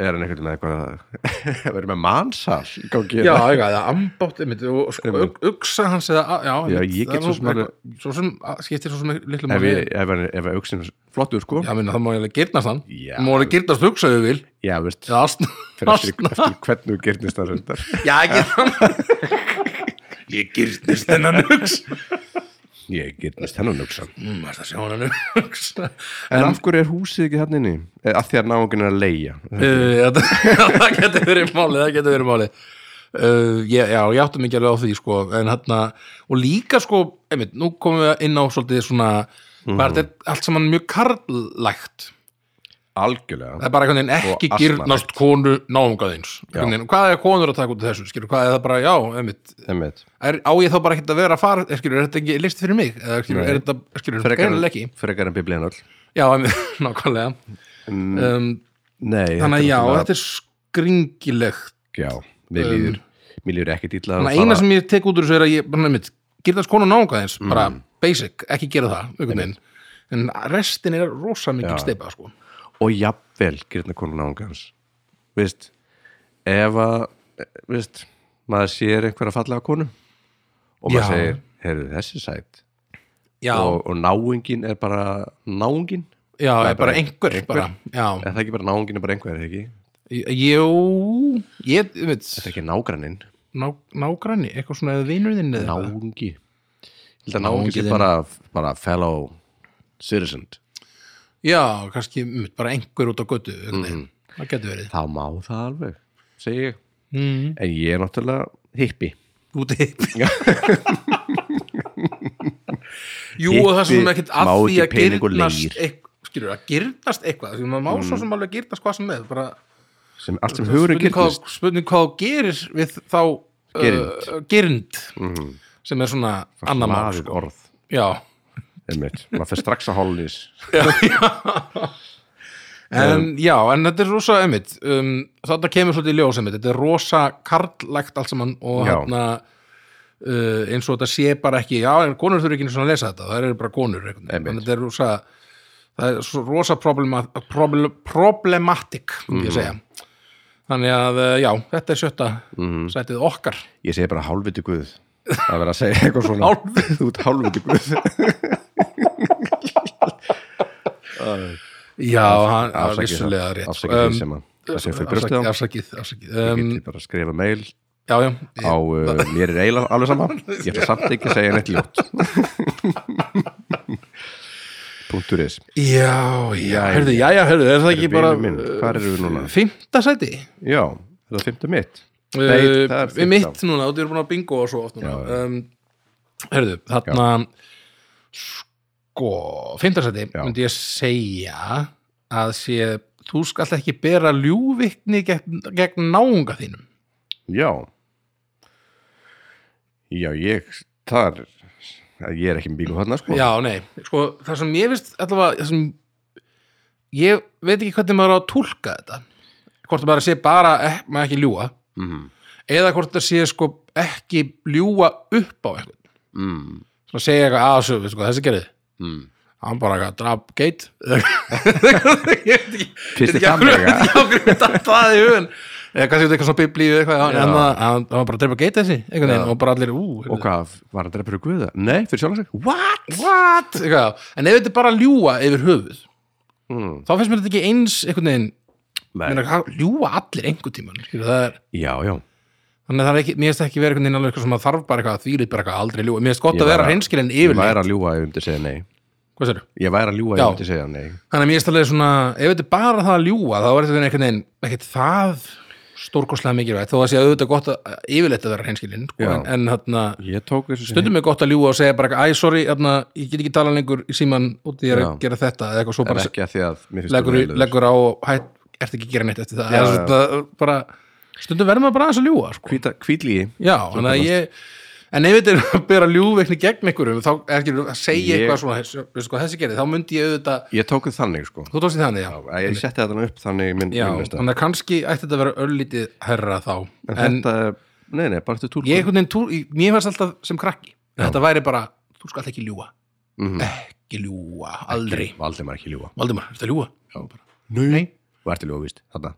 A: er hann einhvern veginn með eitthvað verður með mannsal í gangi
B: Já,
A: hérna?
B: eitthvað, það ambátt einmitt og sko, ug- uxa hans eða, a- já,
A: Já,
B: einmitt,
A: ég
B: það
A: get
B: er
A: svo
B: nú
A: sem alveg-
B: eitthvað- Svo sem a- skiptir svo sem litlu
A: ef,
B: máli
A: ég, ef, hann- ef auksin flottur sko
B: Já, minna, það má ég alveg girnast hann
A: Já.
B: Má alveg girnast uxa ef við vil
A: já veist,
B: Já, asna
A: fyrir eftir, eftir hvernig þú gyrnist það reyndar
B: Já, ekki Ég girnist þennan uxa
A: ég gyrnist hennan auksan
B: mm, varstu að sjá hann uxa
A: en, af hverju er húsið ekki hann inni? Eh, af því að náungin er að leia
B: Uh, já, það getur verið málið það getur verið málið uh, ég, já, ég átti mikið alveg á því sko, en hérna, og líka sko einmitt, nú komum við inn á svolítið svona mm
A: Mhm.
B: -hmm. þetta er allt saman mjög karlægt það
A: algjörlega
B: er bara einhvern veginn ekki
A: Og
B: gyrnast konu náungaðins Einhvern veginn, hvað er konur að taka út af þessu skilur, hvað er það bara, já, einmitt
A: Einmitt.
B: er, á ég þá bara ekkert að vera að fara er, skilur, er þetta ekki listi fyrir mig eða, skilur,
A: Nei.
B: er þetta, skilur,
A: frekar
B: greinilega
A: en-
B: ekki
A: frekar en biblíðan öll
B: já, einmitt, nákvæmlega um,
A: nei
B: þannig að já,
A: náttúrulega-
B: þetta er gringilegt
A: já, mér
B: Um,
A: líður mér líður ekkert illa að
B: Þannig að
A: fara-
B: eina sem ég tek út úr þessu er að ég, bara nefnt, gera það skonu nánga eins,
A: Mm.
B: bara basic, ekki gera það, einhvern veginn. En restin er rosa mikil
A: Já.
B: steipa, sko.
A: og jafnvel gyrna konun ángans veist ef að, veist maður sér einhverja fallega konu og maður
B: Já.
A: segir, heyrðu þessi sætt
B: Já,
A: og, og náungin er bara náungin,
B: já,
A: það
B: bara,
A: er bara
B: bara einhver,
A: einhver.
B: bara, já.
A: er það ekki bara náungin er bara einhver, er það ekki?
B: Jú, ég, þú veit,
A: Það er ekki nágranninn,
B: ná, nágranni, eitthvað svona eða vinurðin eða eitthvað.
A: náungi ég held að náungi
B: Náungi
A: sé
B: þinn.
A: bara, bara fellow citizen
B: Já, kannski, einmitt, bara einhver út á götu,
A: Mm.
B: einhvern veginn. Það getur verið.
A: þá má það alveg, segi ég
B: Mm.
A: en ég er náttúrulega hippi
B: Út í hippi. Jú, og það er
A: Hippi
B: svona ekkert að
A: má
B: því
A: ekki
B: að
A: pening og
B: gyrnast
A: leir. Mm.
B: eitthvað, skilur, að gyrnast eitthvað, því maður má svo sem alveg gyrnast hvað sem er, bara
A: sem allt sem hugurinn
B: spurning hvað,
A: gyrnist
B: spurning hvað þú gerir við þá
A: Girnd. Mhm.
B: uh, gyrnd sem er svona annar mál
A: Hlaðið
B: sko.
A: orð
B: já,
A: einmitt, maður fyrir strax að hálfis
B: en, já, en þetta er rosa einmitt, um, þarna kemur svolítið í ljós einmitt, þetta er rosa karlægt allt saman og
A: Já.
B: hérna uh, eins og þetta sé bara ekki já, en konur þurfi ekki einu svona að lesa þetta, það eru bara konur einhvern veginn.
A: Einmitt.
B: þannig að þetta er rosa það er svo rosa problema, problem, problematik mm.
A: Mhm.
B: ég segja þannig að, uh, já, þetta er sjötta
A: Mhm.
B: sætið okkar
A: ég segi bara hálfviti guð að vera að segja eitthvað svona
B: Hálfviti-
A: þú ert hálfviti guð
B: Já, hann er
A: Afsakið
B: vissulega rétt
A: afsakið
B: Um,
A: því sem að það sé fyrir brjóstið á
B: afsakið, afsakið, afsakið.
A: ég
B: Um,
A: geti bara að skrifa mail
B: Já, já,
A: á uh, mér er eiginlega alveg sama ég ætla samt ekki að segja neitt ljótt punktur is
B: já, já,
A: Jæja.
B: herðu, já, já, herðu, er það ekki
A: vinur
B: bara
A: minn, hvar erum við núna?
B: Fymta sæti
A: já, það er fymta mitt
B: Uh,
A: það er
B: Við
A: fimmtán.
B: mitt núna, þú eru búin að bingo og svo oft núna
A: Já, já.
B: um, Herðu, þarna Sko, fymta sæti
A: Já.
B: myndi ég segja að sé, þú skalt ekki bera ljúvikni gegn, gegn náunga þínum
A: já já, ég þar ég er ekki með bílu þarna sko
B: Já, nei, sko, það sem ég finnst allavega, það sem ég veit ekki hvernig maður á að túlka þetta hvort það bara sé bara eh, maður ekki ljúga
A: mm.
B: eða hvort það sé sko ekki ljúga upp á einhvern
A: Mm.
B: svona segja eitthvað aðsöf, veistu hvað þessi gerði
A: Mm.
B: hann bara eitthvað drap geit ég veit ekki
A: Fyrst
B: ég veit
A: í
B: ekki af hverju-
A: gamlega.
B: ég veit ekki af hverju þetta það í hugun eða kannski þetta eitthvað svona biblíu eitthvað já, en það- hann hann var bara að drepa geit þessi einhvern veginn og bara allir ú
A: og hvað, var hann drefur guða? nei, fyrir sjálf sig, what?
B: what? Eitthvað, en ef þetta er bara að ljúga yfir höfuð
A: Mm.
B: þá finnst mér þetta ekki eins einhvern veginn,
A: Nei.
B: mér er ljúa allir einhvern tíman, skilur, það er
A: já, já
B: þannig að það er ekki, mér finnst það ekki verið einhvern veginn alveg eitthvað sem að þarf bara eitthvað að þýrið bara eitthvað aldrei ljúa, mér finnst gott
A: Ég
B: að vera
A: væri að-
B: hreinskilin
A: Ég
B: yfirleitt,
A: væri að ljúga ef ég myndi segja nei
B: hvað sér
A: Ég væri að ljúga ef
B: Já.
A: ég myndi segja nei
B: þannig að mér finnst alveg svona, ef þetta er bara það að ljúa þá er þetta einhvern veginn, ekkert það stórkoslega mikilvægt, þó að sé auðvitað gott að yfirleitt að vera hreinskilin, sko,
A: Já.
B: en, en þarna,
A: Ég tók þessu
B: stundum er gott að ljúa og segja bara, eitthvað, æ, sorry, þarna, ég get ekki tala lengur í síman út því ég er að
A: Já.
B: gera þetta eða eitthvað svo
A: En
B: bara
A: ekki að því að mér finnst
B: leggur,
A: þú leiðilegur.
B: leggur á og hætt, ert ekki að gera neitt eftir það
A: Já,
B: já,
A: já.
B: Bara, bara, stundum verður maður bara aðeins að ljúga sko.
A: Hvíta- Hvítlígi
B: já, þannig að ég en ef þetta er að bera ljúveikni gegn einhverjum þá er ekki að segja
A: Ég-
B: eitthvað svona "Heyrðu, veistu hvað þessi gerði, þá myndi ég auðvitað
A: Ég tók þið þannig sko
B: þú tókst í þannig, já,
A: Að Ég setti þetta upp þannig minn
B: já
A: minnlista En,
B: þannig að kannski ætti þetta að vera öllítið herra þá en,
A: þetta, er- nei nei, bara þetta túlkun
B: ég einhvern veginn, túr, í- mér fannst alltaf sem krakki þetta væri bara, þú skalt ekki ljúa
A: Mhm.
B: ekki ljúa, aldrei
A: Valdi maður ekki ljúga
B: Valdimar, ertu að ljúa? Já, bara,
A: Nei Þú ert að ljúga víst Þarna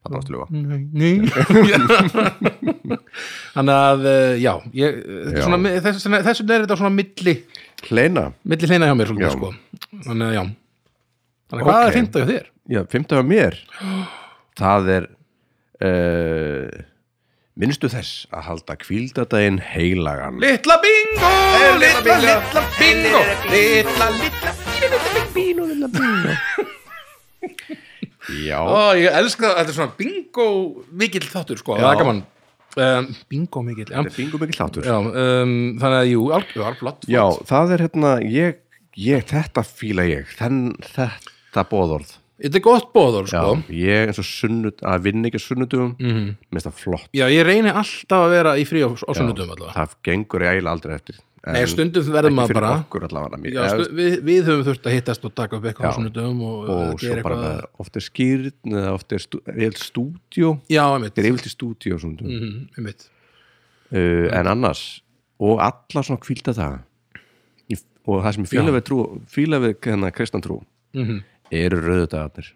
A: Þarna varstu að ljúga
B: Nei, nei. Þannig að, eh, já, ég, þetta er
A: Já.
B: svona, mi- þess vegna þess vegna er þetta svona milli,
A: Kleina
B: milli hleina hjá mér svolítið,
A: Já.
B: sko. Þannig að, já. Þannig að hvað
A: Ok.
B: er fynda hjá þér?
A: Já, fymta á mér Það er uh, Minnstu þess að halda kvíldadaginn heilagan
B: Litla bingo, litla, litla bingo, litla, litla.
A: Já
B: Ó, ég elska það, þetta er svona bingo mikill þáttur, sko, það er gaman. Um, bingo mikill, já.
A: Þetta er fingum ekki hlátur
B: Já, um, þannig að, jú, algjör, blott.
A: Já, það er hérna, ég, ég þetta fíla ég, þenn, þetta bóðorð.
B: Þetta er gott bóður,
A: Já,
B: sko.
A: ég eins og sunnut, að vinna ekki á sunnudum, mm
B: Mhm.
A: -hmm. minnst það flott.
B: Já, ég reyni alltaf að vera í frí á, á sunnudum allavega.
A: Það gengur eiginlega aldrei eftir.
B: Nei, stundum verður
A: ekki
B: maður
A: fyrir
B: bara
A: okkur allavega mér,
B: Já, stu, við, við höfum þurft að hittast og taka upp eitthvað
A: Já.
B: á svona dögum og,
A: og
B: uh,
A: svo
B: gera
A: bara
B: eitthvað
A: með, oft er skýrn eða oft er stú, er stúdíó
B: Já, einmitt,
A: þetta er yfirlt í stúdíó mm.
B: mm, einmitt.
A: uh,
B: Mm.
A: en annars og alla svona kvílda það og það sem ég fíla
B: Já. Mhm.
A: við trú fíla við hennar kristan trú eru rauðu dagarnir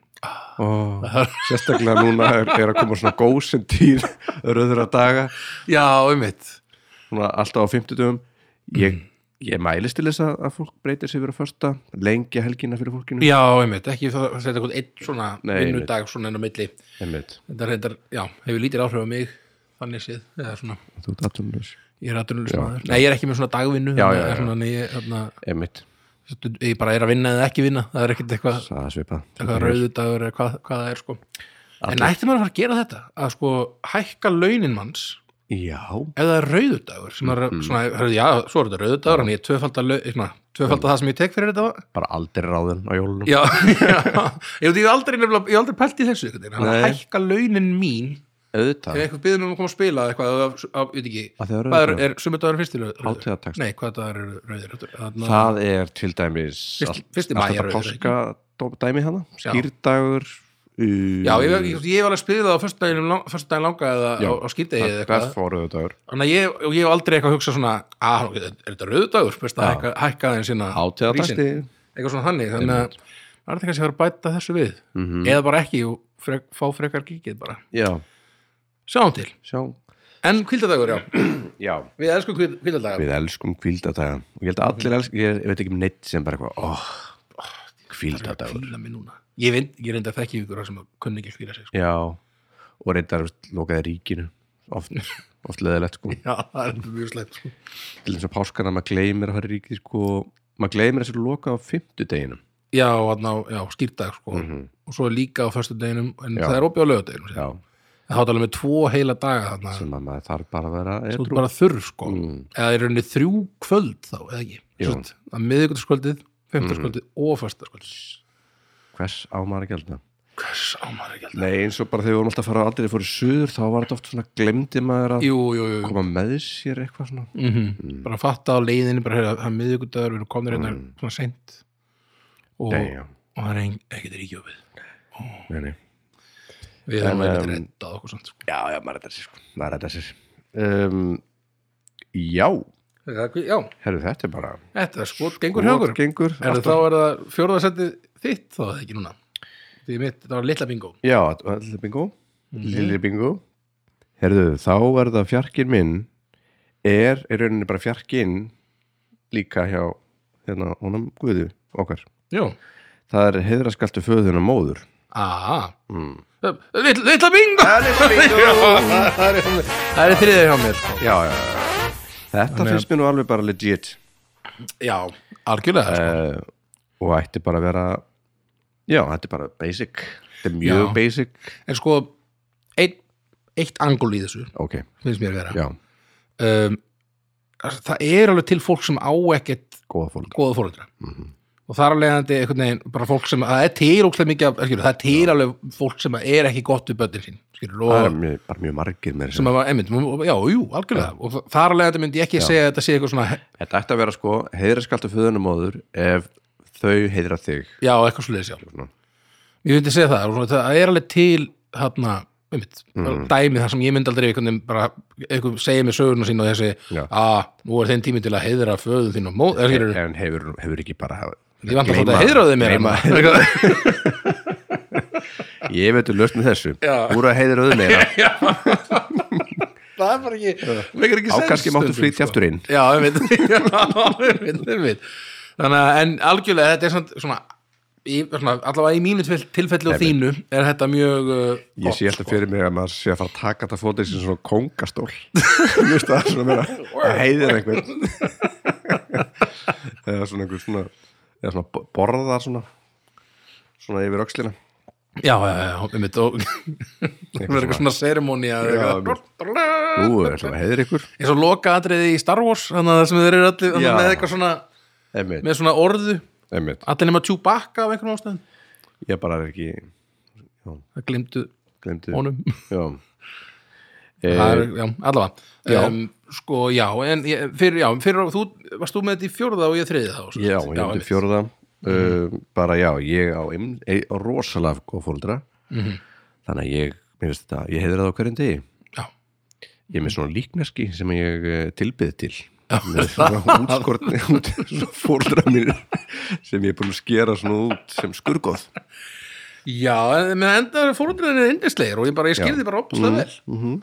A: oh, sérstaklega núna er, er að koma svona gósen tíð rauðra daga
B: Já, einmitt
A: svona alltaf á 50 dögum ég,
B: Mm.
A: ég mælist til þess að, að fólk breytir sig fyrir að första lengja helgina fyrir fólkinu
B: Já, einmitt, ekki það að setja eitthvað einn svona
A: Nei,
B: vinnudag svona enn á milli
A: Einmitt,
B: Þetta reyndar, já, hefur lítir áhrif á mig þannig séð, eða svona
A: þú ert aðtunleis
B: Ég er aðdurnulis maður Nei, ég er ekki með svona dagvinnu
A: Já,
B: þannig
A: já,
B: að
A: já.
B: Svona, en ég, þarna,
A: Einmitt,
B: stund- ég bara er að vinna eða ekki vinna Það er ekkert eitthvað,
A: það er svipað
B: eitthvað rauðudagur eða hvað, hvað það er sko En ætti maður að fara að gera þetta að sko hækka launin manns
A: Já,
B: ef það er rauðudagur sem er
A: Mm-hmm.
B: svona, hörðu, já, svo er þetta rauðudagur en ég tvöfalda, lau- svona,
A: Mm.
B: tvöfalda það sem ég tek fyrir þetta
A: bara aldrei ráðin á jólunum
B: já, já, ég veit ég hef aldrei nefnilega, ég hef aldrei pælt í þessu einhvern veginn, að
A: Nei.
B: hækka launin mín ef
A: Auðvitað,
B: einhver byður um að koma að spila eitthvað, af, af, veit ekki
A: Að það er
B: hvað er,
A: rauðudagur.
B: er sumudagur fyrst til rauður?
A: hátíðartaks
B: Nei, hvað það eru rauðir Þarna,
A: Það er til dæmis
B: Fyrst-
A: allt-
B: hérna- fyrsti
A: allt
B: maí er
A: þetta hérna.
B: rauður,
A: páska dó- dæmi hana,
B: Já.
A: skýrdagur
B: Já, ég, ég, ég, hef alveg spilað það á föstudaginn lang- föstudaginn langa eða
A: Já,
B: á, á
A: uh,
B: skýrdegi eða eitthvað
A: Best fóruðu dagur
B: Þannig að ég, og ég hef aldrei eitthvað hugsað svona að, er þetta rauðudagur, spyrst að hækka, hækka þeim sína
A: Hátíðartaksti
B: eitthvað svona þannig þannig að það er þetta kannski að fara að bæta þessu við eða bara ekki og frek, fá frekar gíkið bara
A: Já,
B: sjáum til,
A: sjá
B: en kvildadagur já
A: Já,
B: við elskum kvildadagur
A: við elskum kvíldadaga og ég held að allir elsk, ég, ég veit ekki um neitt sem bara eitthvað, óh, kvíldadagur
B: kvíla mig núna ég, vind, ég reynda að þekki ykkur sem kunni ekki að kvíla sig sko.
A: Já, og reyndar þú veist, lokaði ríkinu oft, oft leðilegt sko
B: já, það er mjög slæmt sko.
A: til þess að páskana maður gleymir að fara í ríkið sko, maður gleymir þessu loka á fimmtudeginum
B: já, hann á, já, skýrdag sko. og svo er líka á föstudeginum en það er opið á lögadeginum
A: Já,
B: það hátt alveg með tvo heila daga þarna
A: sem að maður þarf bara að vera
B: þú ert
A: edrú
B: bara þurr sko eða er rauninni þrjú kvöld þá, eða ekki
A: Jú.
B: Sett, að miðvikudagskvöldið, fimmtudagskvöldið og föstudaskvöldið
A: Hvers á maður að gælda?
B: hvers á maður ekki að
A: Nei, eins og bara þegar við vorum alltaf að fara aldrei fóru suður, þá var þetta oft svona glemdi maður að
B: jú, jú, jú,
A: koma með sér eitthvað svona
B: mm bara fatta á leiðinni bara heyra, það er miðvikudagur, við erum komin hérna svona sent og,
A: Nei, já,
B: og það er ein, ekkert ríkjófið
A: nei, nei
B: við
A: En,
B: erum ekkert
A: um,
B: reddað okkur samt sko.
A: Já, já, maður reddar sér sko, maður reddar sér um, Já,
B: já,
A: herru, þetta er bara
B: þetta er skot gengur högur
A: Gengur,
B: er það þá er það fjórðasettið þitt þá er það ekki núna því mitt, það var litla bingo
A: Já, allir bingo
B: Mhm.
A: Lilli bingo Herðu, þá er það fjarkinn minn er, er rauninni bara fjarkinn líka hjá hérna, honum guðu okkar
B: já,
A: Það er heiðraskaltu föðuna móður
B: aha mm. litla bingo Já, það er- það er þriðið hjá mér sko.
A: Já, já, já Þetta finnst mér nú alveg bara legit
B: já, algjörlega sko.
A: uh, og ætti bara að vera Já, þetta er bara basic Þetta er mjög
B: Já.
A: basic
B: en sko, ein, eitt angul í þessu
A: Ok,
B: finnst mér vera
A: já,
B: um, það er alveg til fólk sem á ekkert
A: góða fólk Mhm.
B: góða fóreldra og þar alveg þetta einhvern veginn bara fólk sem, það er til ókslega mikið af- skilur, það er til alveg fólk sem er ekki gott við bönnir sín skilur,
A: Það
B: og
A: er mjög, bara mjög margir með
B: sem
A: þessi
B: að var, einmitt, og- já, jú, algjörlega og þa- þar alveg þetta myndi ég ekki segja að þetta sé eitthvað svona
A: Þetta ætti að vera sko heiðraskaltu föðuna móður ef þau heiðra þig
B: já, eitthvað svoleiðis, já
A: Svona.
B: ég myndi segja það, og svona, það er alveg til þarna, einmitt, mm. dæmi þar sem ég myndi aldrei einhvern veginn bara einhvern segja mér söguna sín og þessi
A: Já.
B: að nú er þeim tími til að heiðra föðu þín og móð, er, skilur,
A: en hefur, hefur ekki bara
B: ég vant að fóta að heiðra þau mér
A: gleyma-
B: annað.
A: ég veit að lausna þessu
B: Já.
A: úr að heiðra þau meira
B: það er bara ekki, meikir ekki
A: á
B: sens
A: kannski máttu
B: stundum,
A: flytja
B: sko.
A: aftur inn
B: já, ég veit, já, ég veit, ég veit. þannig að en algjörlega þetta er svona, svona, í, svona allavega í mínu tvill- tilfelli og þínu er þetta mjög uh,
A: ég sé alltaf fyrir mig að maður sé að fara að taka þetta fótið sem svona kongastól Veistu, það er svona meira að heiðir einhvern eða svona einhver svona eða svona bo- borðar svona svona yfir öxlina
B: já, já, já, ég veit og það er eitthvað svona seremóni eða eitthvað
A: nú er það heiðir ykkur
B: eins og loka atriði í Star Wars þannig að það sem þeir eru allir þannig
A: Já.
B: að með eitthvað svona
A: einmitt,
B: með svona orðu,
A: einmitt.
B: allir nema Chewbacca af einhverjum ástæðum,
A: ég bara er ekki
B: það glimtu
A: glemdi
B: honum
A: já Eh,
B: Það er, já, allavega um, sko, já, en ég, fyrir, já, fyrir, þú, varst þú með þetta í fjórða og ég þriði þá? sem
A: Já,
B: sagt?
A: ég myndi
B: einmitt. Mhm.
A: fjórða uh, bara já, ég á ein, ein, rosalega góð fóruldra
B: Mhm.
A: þannig að ég, mér finnst þetta, ég heiðra það á hverjum degi
B: Já.
A: ég er með svona líkneski sem ég eh, tilbyð til með svona útskortni út, fóruldra mín sem ég er búin að skera svona út sem skurgóð
B: Já, en menn enda fórhundriðin er indislegir og ég bara, ég skilði
A: Mm.
B: bara opnast vel.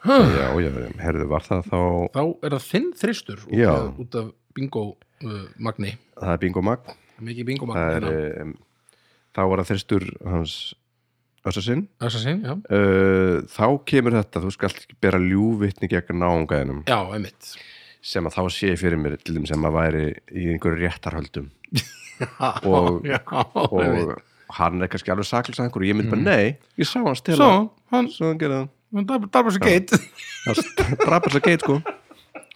A: já, já, herðu, var það þá
B: Þá er það þinn þristur út,
A: Já.
B: af- út af bingo uh, magni,
A: það er bingo magn
B: mikið bingo
A: það
B: magni. hérna.
A: er, um, þá var það þyrstur hans össa sinn
B: Það er sín, já.
A: uh, þá kemur þetta, þú skalt ekki bera ljúvitni gegn náungaðinum
B: Já, einmitt.
A: sem að þá sé ég fyrir mér til þeim sem að væri í einhverju réttarhöldum Og-
B: já, einmitt.
A: og hann er kannski alveg saklus að einhverju og ég myndi bara, nei, ég Mm. sá hann stela
B: Svo, hann,
A: svo hann gerði
B: hann darbar svo geit.
A: það hann drapa þess að geit sko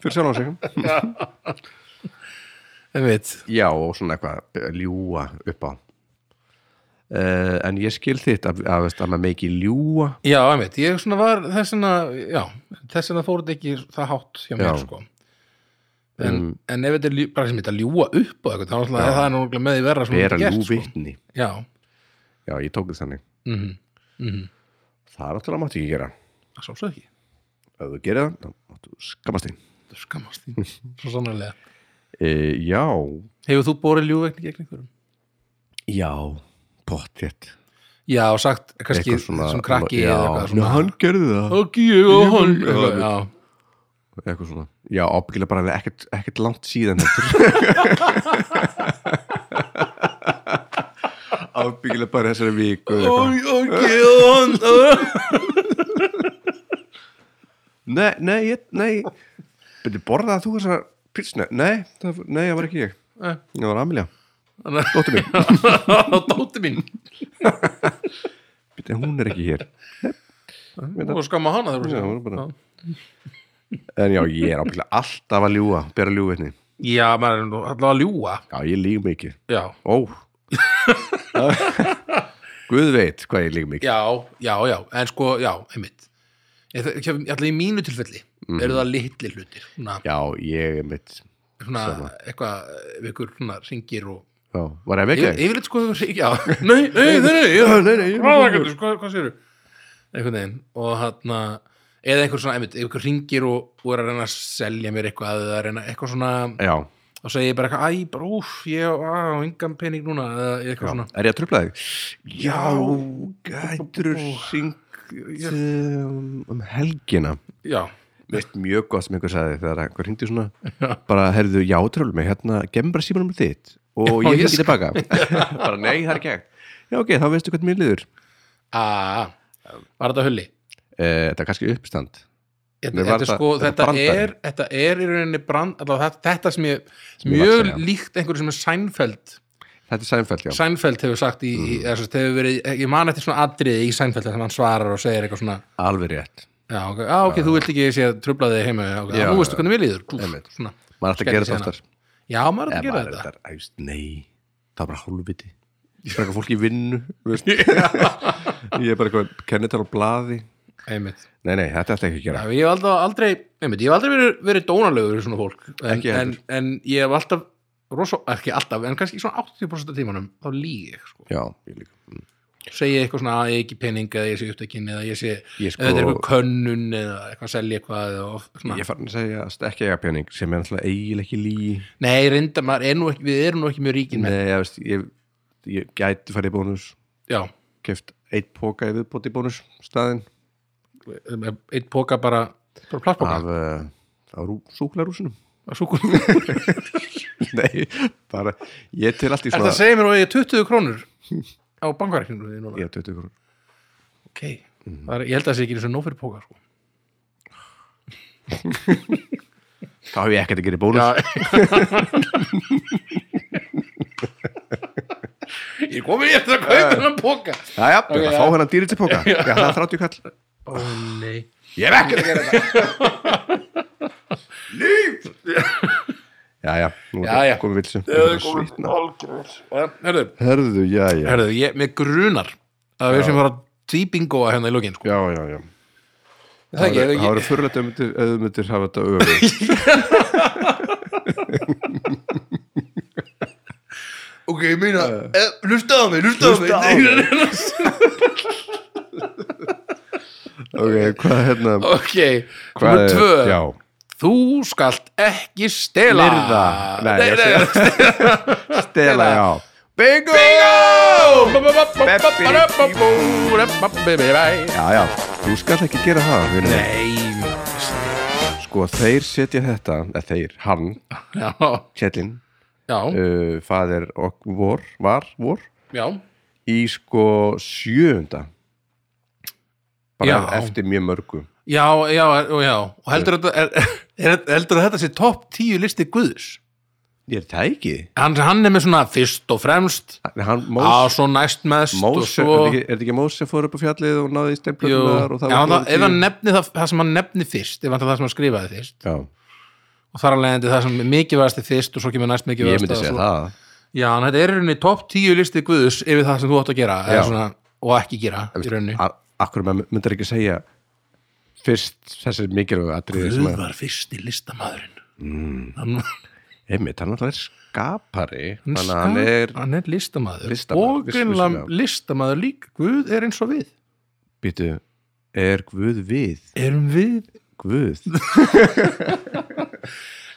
A: fyrir sjálf sig
B: Einmitt.
A: já, og svona eitthvað, ljúa upp á uh, en ég skil þitt að, að, veist, að maður meiki ljúa
B: Já, einmitt, ég svona var þess vegna, já, þess vegna fór þetta ekki það hátt hjá mér,
A: Já.
B: sko. En, en ef þetta er ljú- bara sem þetta ljúa upp og eitthvað, þá náttúrulega er það náttúrulega með því verra sem
A: bera
B: þetta er
A: ljúvitni
B: Sko. Já,
A: já, ég tók þess þannig
B: mm -hmm.
A: það er náttúrulega mátti ekki gera
B: það sástu ekki,
A: ef þú gerir það, þá máttu skammast þín
B: það er skammast því, svo sannarlega.
A: e, já,
B: Hefur þú borið ljúvegni gegn einhverjum?
A: já pottétt
B: Já, og sagt, kannski, sem krakki
A: já,
B: eða eitthvað
A: svona,
B: svona.
A: hann gerði það
B: Og gjöf og hann,
A: Ég-
B: eitthvað, já.
A: eitthvað svona, já, ábyggilega bara ekkert, ekkert langt síðan ábyggilega bara þessari viku eða eitthvað.
B: Og gjöf og hann,
A: nei, nei, ég, nei byrju borðað þú þessar pilsna nei, það, nei, það var ekki ég
B: Nei.
A: það var Amelja,
B: Eh, Þannig-
A: dóttir mín
B: og dóti mín.
A: byrju, hún er ekki hér
B: Og skamma hana þegar
A: Já,
B: þú
A: hún er bara- en já, ég er ábyggilega alltaf að ljúga bera ljúvitni,
B: Já, maður er nú allavega að ljúa.
A: já, ég líg mikið
B: Já.
A: ó Guð veit hvað ég líg mikið
B: Já, já, já, en sko, já, einmitt Ég þ- ég- Alltaf í mínu tilfelli eru það litli hlutir svona,
A: Mhm. já, ég er mitt
B: svona eitthvað, ef ykkur svona ringir og
A: já, var ég
B: Ég-
A: mikið?
B: Yfirleitt sko, ef ykkur- já, nei, nei, nei, nei, já,
A: nei, nei, ég-
B: hvað, hvað, hvað, hvað séru? Einhvern veginn, og hann eða einhver svona, einmitt, ef ykkur ringir og, og er að reyna að selja mér eitthvað eða að reyna eitthvað svona,
A: já,
B: og segi ég bara eitthvað, æ, bara, úf, ég á engan pening núna, eða eitthvað svona
A: er ég að tröfla þig? já, gætur syngt um, um helgina
B: Já,
A: veist mjög gott sem einhver sagði þegar einhver hindi svona bara heyrðu, já, tröfla mig, hérna gemur bara símanum þitt og
B: Já,
A: ég
B: ég
A: hringi tilbaka bara nei, það er ekki hægt já, ok, þá veistu hvernig mér liður
B: að, var þetta hulli?
A: Eh, þetta er kannski uppstand
B: Þetta,
A: Mér var
B: þetta,
A: það-
B: sko,
A: þetta
B: þetta,
A: brandari.
B: er, þetta er í rauninni brand, allavega þetta, þetta sem ég
A: Sem ég var að
B: mjög
A: segja.
B: líkt einhverju sem er Seinfeld
A: þetta er sæmfæll, já
B: Seinfeld hefur sagt í, mm. eða, sérst, hefur verið, ég man eftir svona atriði í Seinfeld þegar hann svarar og segir eitthvað svona
A: alveg rétt
B: já, ok, á, ok, þú vilt ekki sé að trubla þig heima okay,
A: Já,
B: já, nú veistu hvernig mér líður
A: Einmitt.
B: Úf, svona,
A: maður ætti að
B: Skellir
A: gera þetta
B: síðan
A: oftar
B: já, maður er að hérna. gera
A: maður
B: þetta
A: er æst, nei, það er bara hálfviti ég frekar fólk í vinnu veist. ég er bara eitthvað kennital á blaði
B: einmitt
A: nei, nei, þetta ætti ekki að
B: Já,
A: gera
B: ég hef aldrei, aldrei, einmitt, ég hef aldrei verið, verið dónalegur í svona fólk en,
A: Ekki
B: en,
A: heldur.
B: en ég hef alltaf rosa, ekki alltaf, en kannski svona 80% af tímanum þá líg ég sko
A: já, ég líka
B: segja eitthvað svona að ég eigi ekki pening eða ég sé upptekinn eða ég sé
A: Ég sko-
B: eða þetta er eitthvað könnun eða eitthvað að selja eitthvað eða, of- svona,
A: ég fann að segja að ekki eiga pening sem er náttúrulega eiginlega ekki lígi
B: nei, reynda, maður er nú ekki við erum nú ekki mjög ríkin með
A: nei, ég, veist, ég, ég gæti farið í bónus
B: já,
A: keft eitt póka í viðbóti í bónus staðinn
B: eitt póka bara bara plastpóka
A: af, uh, af rú, súkularúsinum
B: af súkkulaði.
A: nei, bara ég til allt í
B: er það
A: svona
B: að segja mér og ég 20 krónur á bankvækninu því núna
A: ég, 20 krónur.
B: ok, það er, ég held að það sé ekki eins og nóg fyrir póka sko.
A: þá hef ég ekkert að gera í bónus
B: ég komi ég eftir að kaupa þennan póka
A: já, já, okay,
B: já.
A: fá hennan dýri til póka já, það er 30 kall
B: ó nei
A: Ég er ekkert að gera þetta Líf Já, já, nú
B: Já, já.
A: komum við vilsum
B: herðu,
A: Herðu, já, já
B: herðu, ég, mér grunar að við sem fara að tvíbingoa hérna í lokin sko.
A: Já, já, já
C: það ekki, er það
A: Það
C: ekki
A: eru fyrirlega auðmyndir, auðmyndir hafa þetta auðvitað
C: ok, ég meina, eh, hlustaðu á mig, hlustaðu á mig
A: Ok, hvað hérna
C: ok,
A: Hvað
C: nummer
A: er-
C: tvö
A: Já,
C: þú skalt ekki stela
A: Myrða. Nei, ég stela,
C: Stela.
A: já
C: bingo
A: Já, já, þú skall ekki gera það vinur minn.
C: nei
A: Sko, þeir setja þetta eða þeir, hann,
B: já,
A: Kjellin
B: já,
A: uh, faðir og vor, var, vor
B: já
A: í sko sjöunda bara
B: Já.
A: eftir mjög mörgu
B: já, já, og já og heldur þetta, er, er, heldur þetta sé topp tíu listi Guðs
A: Ég er það ekki
B: hann, hann er með svona fyrst og fremst
A: Hann,
B: á
A: Mós,
B: svo næst meðst og
A: Móse, er,
B: svo
A: þetta ekki, er þetta ekki Móse fór upp á fjallið og náði í
B: Jú,
A: steinplötunar og það
B: já,
A: var
B: það,
A: góð
B: ef hann
A: tíu?
B: nefni það, það sem hann nefni fyrst ef hann það sem hann skrifaði fyrst
A: Já,
B: og þar alveg endi það sem er mikilvægasti fyrst og svo kemur næst
A: ég
B: mikilvægast
A: myndi segja það
B: Já, en þetta er í rauninni topp tíu listi guðus yfir það sem þú átt að gera eða
A: Já.
B: svona, og ekki gera í rauninni
A: A- Akkur maður myndir ekki segja fyrst þessi mikilvæg atriði sem
B: Guð
A: að,
B: var fyrsti listamaðurinn mm. hann,
A: einmitt, hann alltaf er skapari
B: hann,
A: þannig að hann er,
B: hann er listamaður,
A: Listamaður,
B: og
A: viss-
B: greinlega
A: vissulega.
B: listamaður líka Guð er eins og við
A: býtu er Guð við,
B: Erum við
A: Guð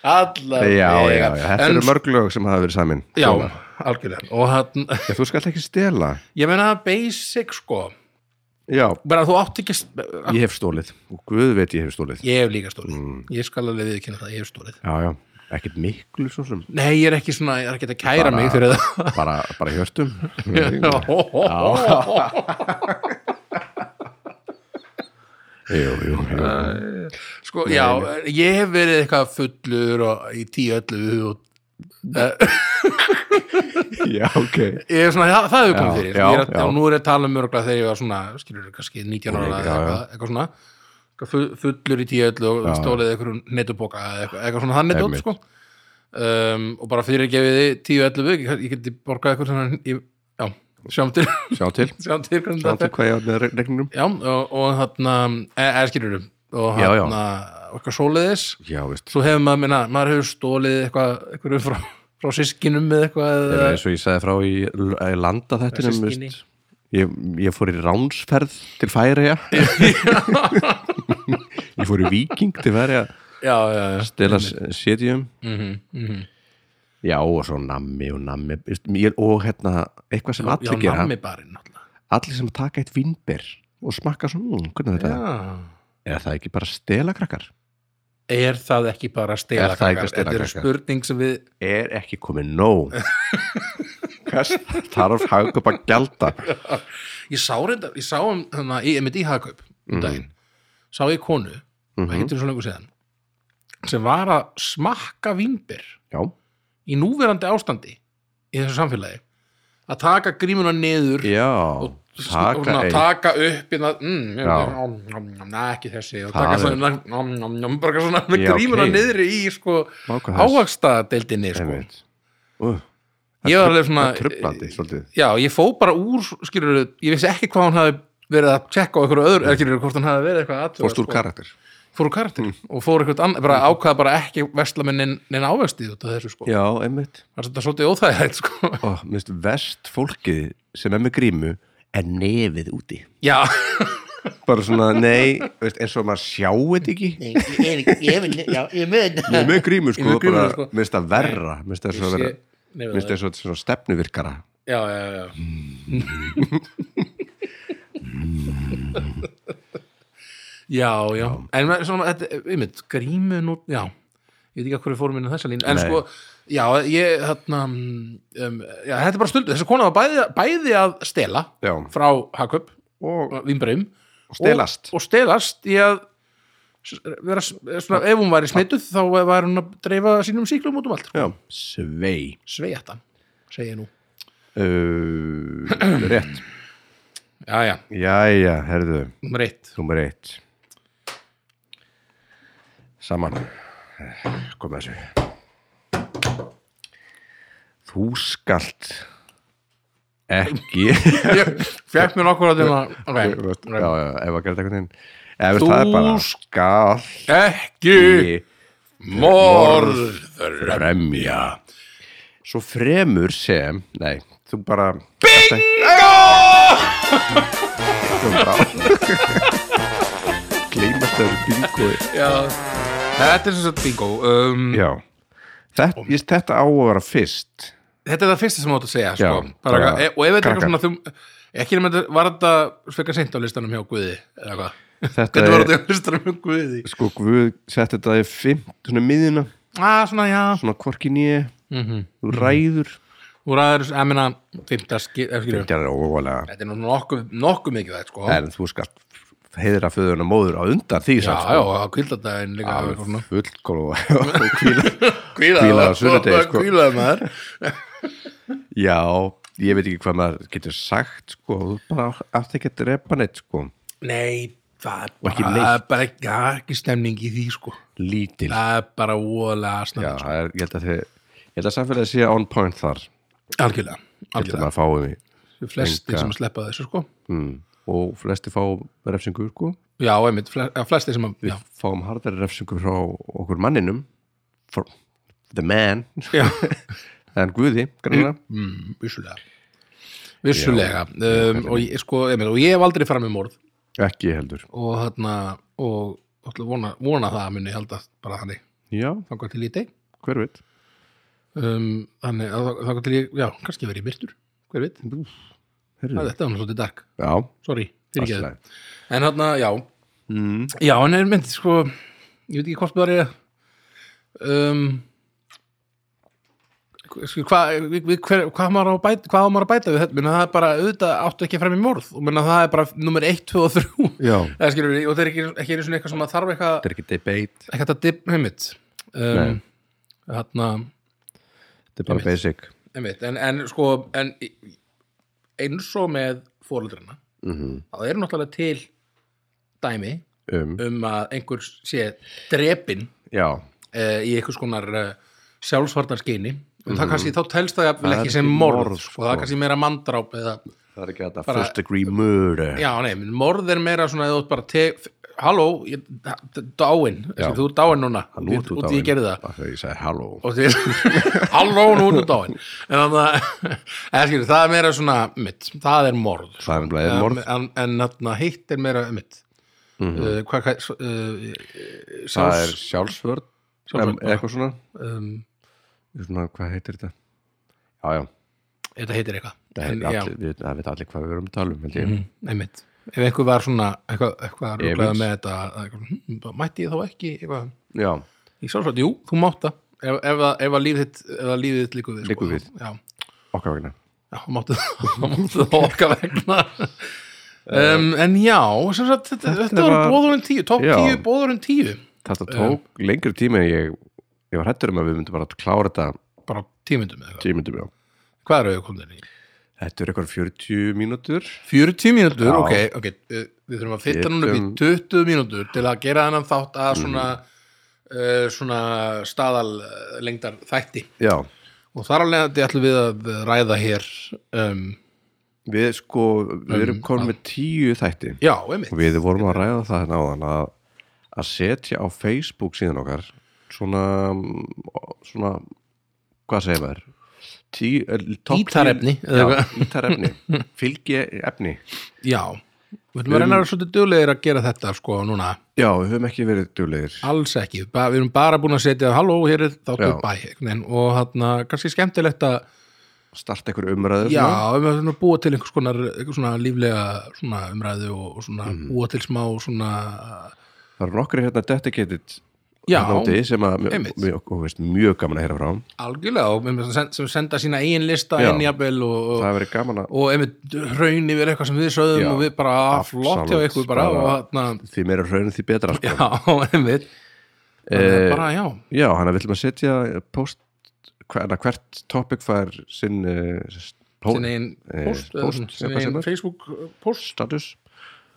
B: alla
A: Já, já, já, þetta
B: en,
A: eru mörg lög sem hafa verið samin
B: Já,
A: Svona.
B: algjörlega og hann,
A: Já, þú skalt ekki stela
B: ég meina basic sko
A: Já,
B: bara þú átt ekki að
A: ég hef stólið og Guð veit ég hef stólið
B: Ég hef líka stólið.
A: Mm.
B: Ég skal alveg viðkynna það, ég hef stólið.
A: Já, já, ekkert miklu svo sem
B: Nei, ég er ekki svona, ég er ekki að kæra
A: Bara-
B: mig fyrir það.
A: bara, bara hjörtum
B: Ó, ó, ó.
A: Jú, jú, jú
B: sko, já, ég hef verið eitthvað fullur og í tíu öllu og
A: Já, ok
B: ég er svona, það, það hefur komið
A: Já, já,
B: fyrir. ég er,
A: já.
B: já. Nú er ég að tala um örgla þegar ég var svona, skilur kannski 19
A: Já,
B: ára eða
A: já.
B: eitthvað, eitthvað svona, eitthvað fu- fullur í tíu öllu og
A: Já.
B: stólið einhverjum netuboka eða eitthvað, eitthvað svona þannig dótt,
A: Einmitt.
B: sko. Um, og bara fyrir gefiði tíu öllu, ég, ég geti borgað eitthvað svona, ég, já, sjáum til,
A: Sjá til,
B: sjáum til hvernig
A: sjá
B: þetta
A: til hvað ég átt með re- reikningnum
B: Já, og, og þarna eða skilur um og
A: Já, já.
B: þarna og eitthvað svoleiðis
A: Já, veist
B: svo hefur maður minna, maður hefur stólið eitthvað, eitthvað frá, frá sískinum eða eitthvað
A: Þegar
B: eða,
A: eins og ég sagði frá í l- í landa þetta
B: Systkini.
A: ég, ég fór í ránsferð til færiða Ég fór í viking til færiða
B: já, já, já,
A: Stela setjum
B: mhm, mhm.
A: um. Já, og svo nammi og nammi veist, ég- Og hérna, eitthvað sem
B: já,
A: allir gera
B: nammi barinn náttúrulega.
A: Allir sem taka eitt vinnber og smakka svo, mm, hvernig er þetta
B: Já.
A: Er það ekki bara stela krakkar?
B: er það ekki bara
A: Er það ekki
B: stelakakar þetta er
A: stelakrakar?
B: spurning sem við
A: Er ekki komið nóg Hvers þarf hagkaup að gjalda
B: ég sá reynda, ég sá um þannig að ég mitt í hagkaup
A: Mhm.
B: um daginn, sá ég konu það heitir svo lengur séðan sem var að smakka vínbyr
A: Já,
B: í núverandi ástandi í þessu samfélagi að taka grímuna niður
A: já
B: taka, svona,
A: eitt.
B: taka upp inna, mm,
A: Já.
B: nom, nom, nom, na, ekki þessi
A: Það
B: og taka
A: er-
B: svona, mm, nom, nom, nom, bara svona með
A: Já,
B: grímuna
A: ok.
B: niðri í sko,
A: Vá, hvað það er-
B: ávakstadeildinni sko.
A: Einmitt. Ú,
B: ég var alveg
A: það
B: svona
A: er Tröflandi, svolítið
B: já, ég fó bara úr skilur, ég vissi ekki hvað hún hafi verið að tjekka á einhverju öðru, eða skilur, hvort hún hafi verið eitthvað að athuga,
A: Fórst úr Mm.
B: sko.
A: karakter
B: fór úr karakter og fór eitthvað annað, bara ákvaða bara ekki vesla með neinn neinn ávexti út af þessu sko,
A: Já, einmitt
B: það er svolítið óþægilegt sko
A: Ó, minnst vest fólkið sem er með grímu er nefið úti
B: já,
A: Bara svona, nei, veist, eins og maður sjáu þetta ekki
D: Ég, ég, ég, vil- já, ég mun
A: Ég er með grímu, sko,
B: Ég er með grímu,
A: bara,
B: sko.
A: minnst það verra minnst það svo
B: Ég sé-
A: verra
B: Nei, við
A: minnst það
B: það.
A: svo, svo stefnuvirkara
B: já, já, já já, já en maður- svona, þetta, einmitt, grímu nú, já, ég veit ekki að hverju fórum inn á þessa línu, en
A: Nei.
B: sko já, ég, þarna um, já, þetta er bara stund, þessi kona var bæði, bæði að stela
A: Já,
B: frá Hakup
A: og
B: Vimbröym
A: stelast
B: og, og stelast í að s- vera, s- svona, ef hún var í sneituð þá var hún að dreifa sínum síklum út um allt,
A: Já, svei
B: sveigatan segi ég nú
A: uh, Rétt
B: já, já,
A: Jæja, herðu,
B: nummer eitt
A: nummer eitt Saman Komið þessu Þú skalt ekki
B: Ég fekk mér nokkur að þeim að
A: Þú veist, Já, já, ef að gera þetta einhvern veginn eða veist, það er bara
B: Þú
A: skal
B: ekki
A: í
B: morður
A: fremja svo fremur sem nei, þú bara bingo gleymast að það eru bingoi
B: Já, þetta er sem sagt bingo um,
A: já þetta, ég, þetta á að vera fyrst
B: Þetta er það fyrsta sem þú átt að segja sko.
A: Já,
B: bara,
A: bara-
B: e, og ef þetta er
A: krakkar.
B: eitthvað svona þú, ekki nema þetta var þetta sveka seint á listanum hjá Guði eða hvað,
A: þetta
B: hvernig var
A: er,
B: þetta á listanum hjá Guði
A: sko Guð setti þetta í fimm, svona miðina
B: að Ah, svona já
A: svona hvorki nýja þú ræður
B: úr aður, ég meina, fymta þetta
A: þetta er óvalega
B: er nú nokkuð, nokkuð mikið það sko.
A: en þú skal heiðra föðun og móður á undan því
B: já,
A: samt,
B: já,
A: sko.
B: á kvildardaginn líka eitthvað svona.
A: fullkólu og kvíla
B: Hvílaði
A: á sunnudegi, sko.
B: hvílaði maður
A: já, ég veit ekki hvað maður getur sagt sko, þú bara allt ekki að drepa neitt sko,
B: nei, það er
A: Og ekki
B: bara,
A: neitt.
B: það er bara ekki, ja, ekki stemning í því sko.
A: lítil já,
B: það er bara óalega snemma sko.
A: það er, ég held að þið ég held að samfélagið sé on point þar ég
B: algjörlega,
A: held að
B: algjörlega.
A: maður fái því
B: flestir
A: Enga-
B: sem sleppa þessu sko
A: mm. og flesti fá refsingu sko.
B: Já, einmitt, fle- eða flestir sem að,
A: við
B: já,
A: fáum hardari refsingu frá okkur manninum frá the man
B: já
A: en Guði, grannlega
B: mm, vissulega Vissulega, um, og ég sko, einmitt, og ég hef aldrei fram með morð
A: ekki heldur
B: og þarna, og ætla að vona, vona það að muni haldast bara þannig,
A: já,
B: þangar til í deg
A: hver veit
B: um, þannig, að þa- þangar til ég, já, kannski verið ég myrtur, hver veit, það
A: Heyrðu.
B: er þetta, hann er svolítið dark,
A: já,
B: sorry,
A: Mm. allt í
B: fyrir
A: lagi.
B: ekki en þarna, já,
A: mm.
B: já, en er mynd, sko ég veit ekki hvort það er um sko, hvað við- við- hver- hvað á maður á að bæta hvað á maður að bæta við þetta, menna það er bara auðvitað áttu ekki fram í morð og menna það er bara nummer 1, 2 og 3
A: já,
B: eða skilur við, og það er ekki, ekki einu svona eitthvað sem að þarf eitthvað
A: þetta er ekki debate
B: eitthvað að dip, heimitt um,
A: Nei.
B: þarna,
A: þetta er bara basic
B: heimitt, en, en sko en í- eins og með fóreldrarna,
A: Mhm.
B: það eru náttúrulega til dæmi
A: um,
B: um að einhver sé drepinn
A: já,
B: uh, í einhvers konar uh, sjálfsvarnarskyni en það kannski, þá telst það jafnvel ekki sem morð, sko, það er kannski meira mandráp eða,
A: það er ekki þetta
B: Bara-
A: first degree murder
B: já, nei, menn, morð er meira svona eða þú ert bara te, halló, ég, dáin
A: Já.
B: þú ert dáin núna,
A: Nú ert þú
B: út í ég gerði það
A: Bara þegar ég sagði halló
B: og því, halló, nú ert þú dáin en þannig að, eða skilur, það er meira svona mitt, það er morð
A: það er nefnilega eða morð
B: en, en, en hitt er meira mitt Mm -hmm. uh, hvað, hvað, uh,
A: það
B: sjálfs,
A: er sjálfsvörd
B: Sjálfsvörn,
A: em, eitthvað svona,
B: um,
A: svona hvað heitir þetta já, já,
B: þetta heitir eitthvað
A: það
B: En,
A: veit
B: já. Mhm.
A: allir, við- það veit allir hvað við erum að tala um held ég.
B: einmitt ef einhver var svona eitthvað, eitthvað
A: Efins.
B: rúglega með þetta að eitthvað, hm, bara mætti ég þá ekki eitthvað,
A: já,
B: ég sá svona, jú, þú mátt það ef, ef, að- ef að líf þitt, ef að líf þitt líku við sko.
A: Liggur við.
B: já,
A: okkar vegna
B: já, þú máttu þú máttu það orka vegna um, en já, sem sagt þetta, þetta,
A: var-
B: var bóðurinn tíu, topp
A: Já.
B: tíu bóðurinn tíu,
A: þetta
B: Um.
A: tók lengri tíma en ég, ég var hættur um að við myndum bara að klára þetta
B: bara tímyndum eða eitthvað,
A: tímyndum já
B: hvað eru við komin í?
A: þetta er eitthvað 40 mínútur
B: 40 mínútur,
A: Já.
B: ok, ok uh, við þurfum að fitta núna upp í
A: Getum- Mm.
B: 20 mínútur til að gera þennan þátt að svona uh, svona staðal uh, lengdar þætti
A: já,
B: og þar alveg að ætlum við að ræða hér um,
A: við sko við erum komin með tíu þætti
B: já, einmitt
A: og við vorum að ræða það hérna áðan að, að setja á Facebook síðan okkar svona svona, hvað segir maður Tí- eh, topp tíu
B: Ítarefni, eða
A: já,
B: eitthvað.
A: ítarefni, fylgi efni
B: já, við ætlum að reyna að vera svolítið duglegir að gera þetta sko núna,
A: já, við höfum ekki verið duglegir
B: alls ekki ba við erum bara búin að setja, halló, hér er þáttu
A: Já.
B: bæ einhvern veginn. og þarna, kannski skemmtilegt að
A: starta einhver umræður
B: Já,
A: svona.
B: við verðum að búa til einhvers konar einhvers svona líflega svona umræðu og og svona
A: Mm.
B: búa til smá svona
A: það eru nokkri hérna dedicated
B: Já,
A: þarna úti sem að
B: einmitt.
A: mjög, og veist, mjög gaman að heyra frá
B: algjörlega og með- sem- sem senda sína eigin lista
A: Já.
B: inn jafnvel og,
A: það
B: og,
A: hefur verið gaman að
B: og einmitt raun yfir eitthvað sem við sögðum
A: Já,
B: og við bara "Ah, flott hjá
A: absolutt,
B: ykkur bara
A: bara-
B: og þarna,
A: því meira raunin því betra sko.
B: já, einmitt
A: Eh,
B: e... bara já,
A: já, hann er villum að setja post, hver, na, hvert topic fær sinn eh, s- pó-
B: sinn eigin
A: eh,
B: post, eða
A: post,
B: svona, sinn
A: eitthvað sem
B: eigin
A: er.
B: Facebook eh, post
A: status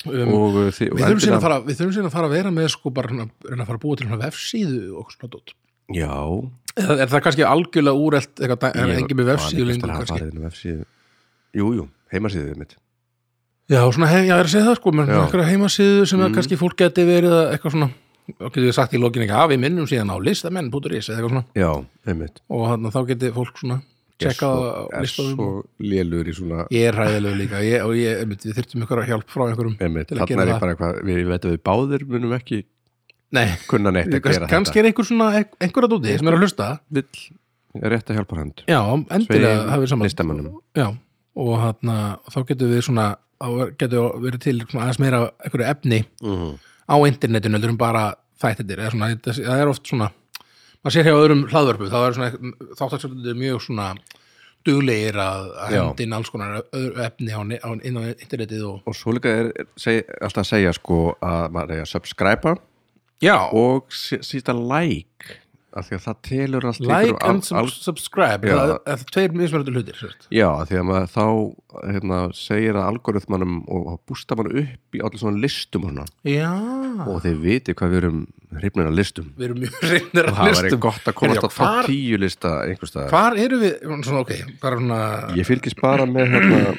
B: um,
A: og eh, því,
B: við þurfum síðan að fara við þurfum síðan að fara að vera með sko bara svona- reyna að fara að búa til svona vefsíðu og svona dót
A: já,
B: Eða er það kannski algjörlega úrelt eitthvað, er
A: ég
B: engin með
A: man ekki eftir
B: vefsíðu lengur
A: að hafa
B: kannski
A: farið inn á vefsíðu. jú, jú, heimasíðu mitt
B: Já, svona hef, já, ég er að segja það sko, með
A: Já. Mm.
B: einhverja heimasíðu sem að kannski fólk geti verið að eitthvað svona, þá getur við sagt í lokin eitthvað, að við minnum síðan á listamenn.is eða eitthvað svona,
A: já, einmitt
B: og hann, þá geti fólk svona tjekkað á
A: er
B: listanum.
A: svo lélur í svona
B: Ég er ræðilegu líka, ég, og ég, einmitt, við þyrftum einhverja hjálp frá einhverjum
A: einmitt,
B: til að
A: þannig
B: gera
A: er ég
B: það.
A: bara eitthvað við veitum við báðir munum ekki
B: Nei,
A: kunna neitt að gera
B: kannski er einhver svona, einhverja dóti sem er að hlusta,
A: þetta vill rétt að hjálpa hand
B: já, endilega hafið saman.
A: listamannum
B: Já, og hann, þá getum við svona, þá getur verið til svona aðeins meira einhverju efni á internetinu heldur en bara þættir eða svona, þetta- það er oft svona maður sér hjá öðrum hlaðvörpu þá er svona þáttarstjórnandi mjög svona duglegir að að
A: Já.
B: henda inn alls konar öðru efni á, ne- á, inn á internetið og
A: og svo líka er, er seg, alltaf að segja sko að maður er að subscriba
B: já,
A: og sí- sísta like af því að það telur allt
B: like
A: ykkur
B: and
A: al- al-
B: sub subscribe
A: Já.
B: það er- það er tveir mismörðu hlutir sem sagt.
A: Já, af því að maður þá hérna, segir að algoritmanum og og bústa mann upp í allir svona listum og, svona.
B: já,
A: og þeir viti hvað við erum hrifnir að listum
B: við erum mjög reynir
A: og
B: að
A: það væri
B: listum
A: gott að komast
B: Heyrðu,
A: að top
B: hvar-
A: 10 lista einhverstað
B: hvar eru við, svona ok hvað er svona,
A: Ég fylgist bara með hérna,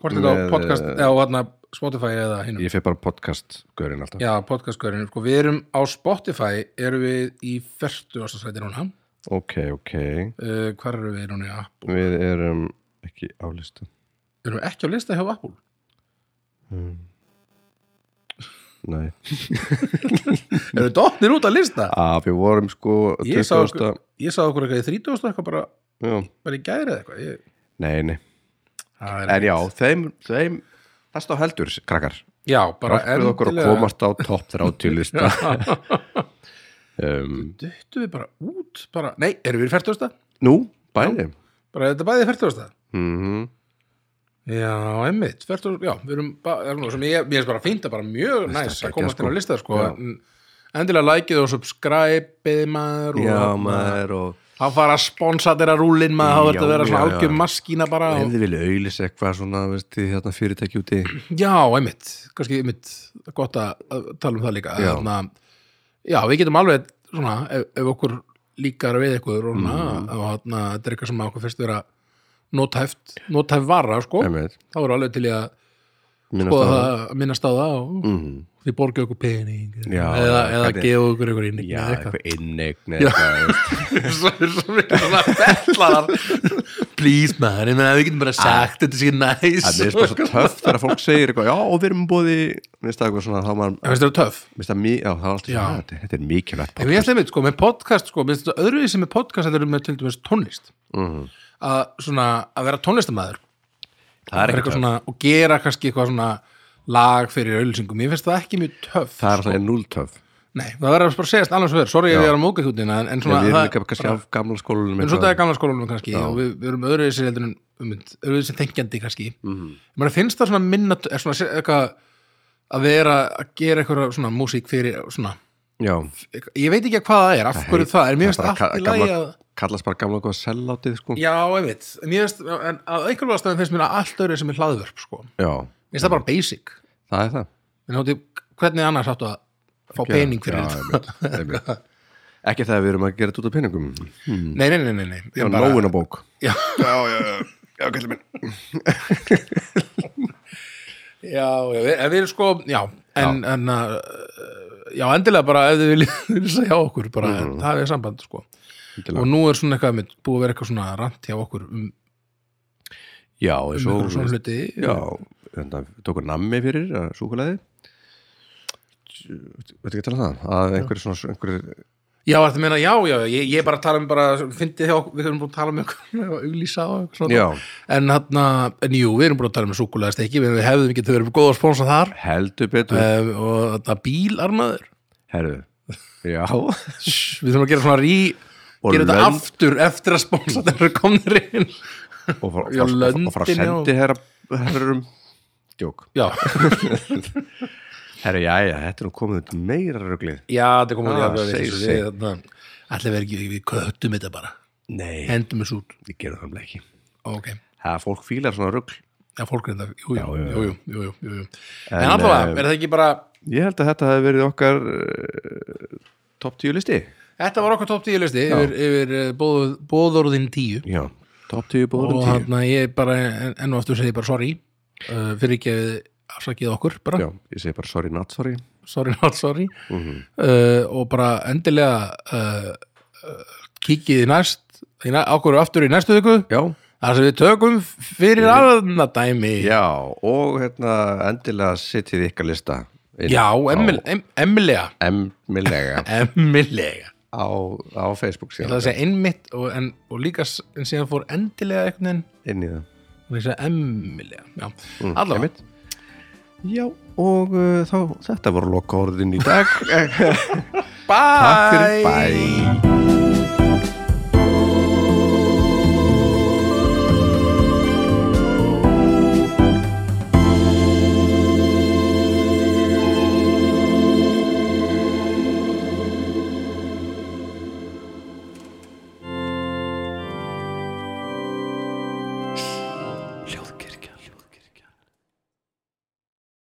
B: hvort þetta á
A: með,
B: podcast
A: eh,
B: eða á hérna Spotify eða hinum
A: ég fyrir bara podcast-görinn alltaf
B: já, podcastgörinu, sko, við erum á Spotify erum við í 40 ástæði núna
A: Ok, ok,
B: uh, hvar eru við núna í Apple?
A: við erum ekki á listum
B: Við erum ekki á lista hjá Apple Hmm.
A: Nei
B: Erum við dottnir út að lista?
A: að við vorum sko
B: Ég sá,
A: 20.
B: okkur, ég sá okkur eitthvað í 30 eitthvað bara,
A: Já,
B: bara í gæri eða eitthvað ég,
A: nei, nei
B: það er-
A: En já, þeim, þeim það stá heldur, krakkar
B: já, bara
A: Hjálpið okkur að komast á topp 30 lista um,
B: Duttum við bara út bara, Nei, erum við í 40
A: Nú, bæði
B: Bara þetta er bæði í 40
A: mm
B: Mhm.
A: -hmm.
B: Já, emmitt, 40 Já, við erum ba- er nú sem ég, ég er bara fínt að bara mjög
A: Þetta
B: næs
A: er
B: að komast
A: geggjað,
B: inn á
A: sko.
B: lista sko.
A: Já.
B: En Endilega likeið og subscribeið maður og
A: Já, maður og
B: Hann fara að sponsa þeirra rúlin maður, þá verður
A: Já,
B: að vera svona
A: já, já.
B: algjör maskína bara og,
A: Ef þið vilja auðlis eitthvað svona, veist þið, hérna fyrirtæki úti
B: Já, einmitt, kannski einmitt gott að að tala um það líka
A: Já.
B: Þarna, já við getum alveg svona, ef, ef okkur líkar við eitthvað og svona,
A: Mm.
B: og þarna, þetta er eitthvað sem okkur fyrst vera nótæft nótæf vara, sko,
A: Einmitt,
B: þá er alveg til í að
A: minnast
B: bóða
A: á
B: það að minnast á það og
A: Mhm.
B: þið borgið okkur pening
A: Já,
B: eða,
A: já,
B: eða
A: hvernig-
B: gefa okkur ykkur inn
A: Já, eitthvað inneign
B: Já.
A: eitthvað,
B: svo er svo mikið svona betlaðar please maður, ég meina við getum bara sagt þetta sé næs
A: Það er svo töff þegar fólk segir eitthvað Já, og við erum búið minnst það eitthvað svona, þá maður
B: Það finnst þetta töff
A: minnst það, mi- já, það er alltaf
B: Já.
A: svona, þetta- þetta er mikilvægt
B: En ég ætla einmitt, sko, með podcast, sko, minnst þetta öðruvísi með podcast heldur en með til dæmis tónlist.
A: Mhm.
B: Að svona, að vera tónlistamæður.
A: Það er
B: Vera
A: ekki
B: eitthvað svona, og gera kannski eitthvað svona lag fyrir auðlýsingum. Ég finnst það ekki mjög töff.
A: Það er alltaf núltöf
B: Nei, það verður bara að segjast alveg svo verður. Sorry ef ég er að móka hútina, en, en
A: Við
B: svona,
A: erum
B: það,
A: líka kannski
B: bara-
A: af gamla skólanum
B: en svo þetta er gamla skólanum kannski,
A: Já.
B: og við, við erum öðruvísi heldur en, um, öðruvísi tengjandi kannski.
A: Mhm.
B: Mm -hmm. finnst það svona minna, er svona se- eitthvað, að vera að gera eitthvað svona músík fyrir svona,
A: Já,
B: ég veit ekki hvað það er, af hverju það er, mér finnst
A: bara
B: allt í
A: ka-
B: lagi
A: gamla-
B: að
A: Kallast bara gamla góða sellátið sko
B: Já, einmitt, en ég veist en að einhverjum ástæðum finnst mér að allt öðru sem er hlaðvörp sko. mér
A: Já,
B: finnst það bara basic
A: það er það
B: en hóti, hvernig annars áttu að fá
A: Já,
B: pening fyrir
A: já,
B: þetta
A: einmitt, einmitt. Ekki það að við erum að gera þetta út af peningum hmm.
B: Nei, nei, nei, nei, nei.
A: Já,
B: Ég bara-
A: nóin á bók
B: Já.
A: já, já, já, já, kallið minn
B: Já, já, við, en við erum sko Já, en, en að Já, endilega bara ef þið viljið viljið segja á okkur bara, það er samband sko
A: Endilega.
B: og nú er svona eitthvað mitt, búið að vera eitthvað svona rant hjá okkur um,
A: Já, eins
B: um
A: og
B: eitthvað svona hluti
A: Já, þetta tóku nammi fyrir súkulæði Veitu ekki að tala um það að einhverju svona einhverju,
B: Já, var þetta að meina, já, já, ég, ég bara tala um bara, fyndið hjá, okkur- við erum búin að tala um eitthvað og auglýsa og eitthvað svona
A: Já,
B: En hann, en jú, við erum búin að tala um súkulega stekki, við við hefðum ekki, þau erum góð að sponsa þar
A: heldur betur
B: um, og þetta bílarmaður
A: Herðu, já
B: Shhh, við þurfum að gera svona rí
A: Og
B: gera þetta
A: lönd.
B: aftur eftir að sponsa þeir eru komnir inn
A: og fara,
B: Já,
A: fara, fara, og fara að
B: löndin, já.
A: sendi herra, herrum djók,
B: Já,
A: herra, já, já, þetta er nú komið út meira röglið
B: já, þetta komum
A: Ah,
B: að
A: segir
B: við
A: sig.
B: þarna Ætli við ekki, við köttum þetta bara
A: nei,
B: hendum þessu út,
A: við gerum það ekki
B: ok
A: það er fólk fílar svona rögl
B: Já, fólk reynda, jú, jú,
A: Já, já, já.
B: jú, jú, jú, jú, jú. En,
A: En,
B: en allavega,
A: eh,
B: er það ekki bara
A: ég held að þetta hefði verið okkar uh, top 10 listi
B: Þetta var okkar topp tíu listi yfir, yfir eh, bóð, bóðorðin tíu
A: já, top 10 bóður
B: og
A: um 10
B: hann að ég bara enn og aftur segi bara sorry uh, fyrir ekki að við afsakið okkur bara,
A: Já, Mhm. ég segi bara sorry not sorry
B: sorry not sorry uh, og bara endilega uh, uh, kikið í næst í næ, okkur aftur í næstu viku
A: Já,
B: þar sem við tökum fyrir aðna dæmi
A: já og hérna endilega setjið ykkar lista inn
B: Já,
A: á
B: emmil- em- emmilega
A: emmilega
B: Emmilega
A: á, á Facebook
B: Það
A: síðan
B: að segja einmitt og, en, og líka s- en síðan fór endilega einhvern veginn
A: inn í það
B: og ég segja emmilega Já,
A: Mm,
B: allavega
A: einmitt. Já, og uh, þá, þetta voru loka orðin í dag Takk
B: Bye
A: fyrir, bye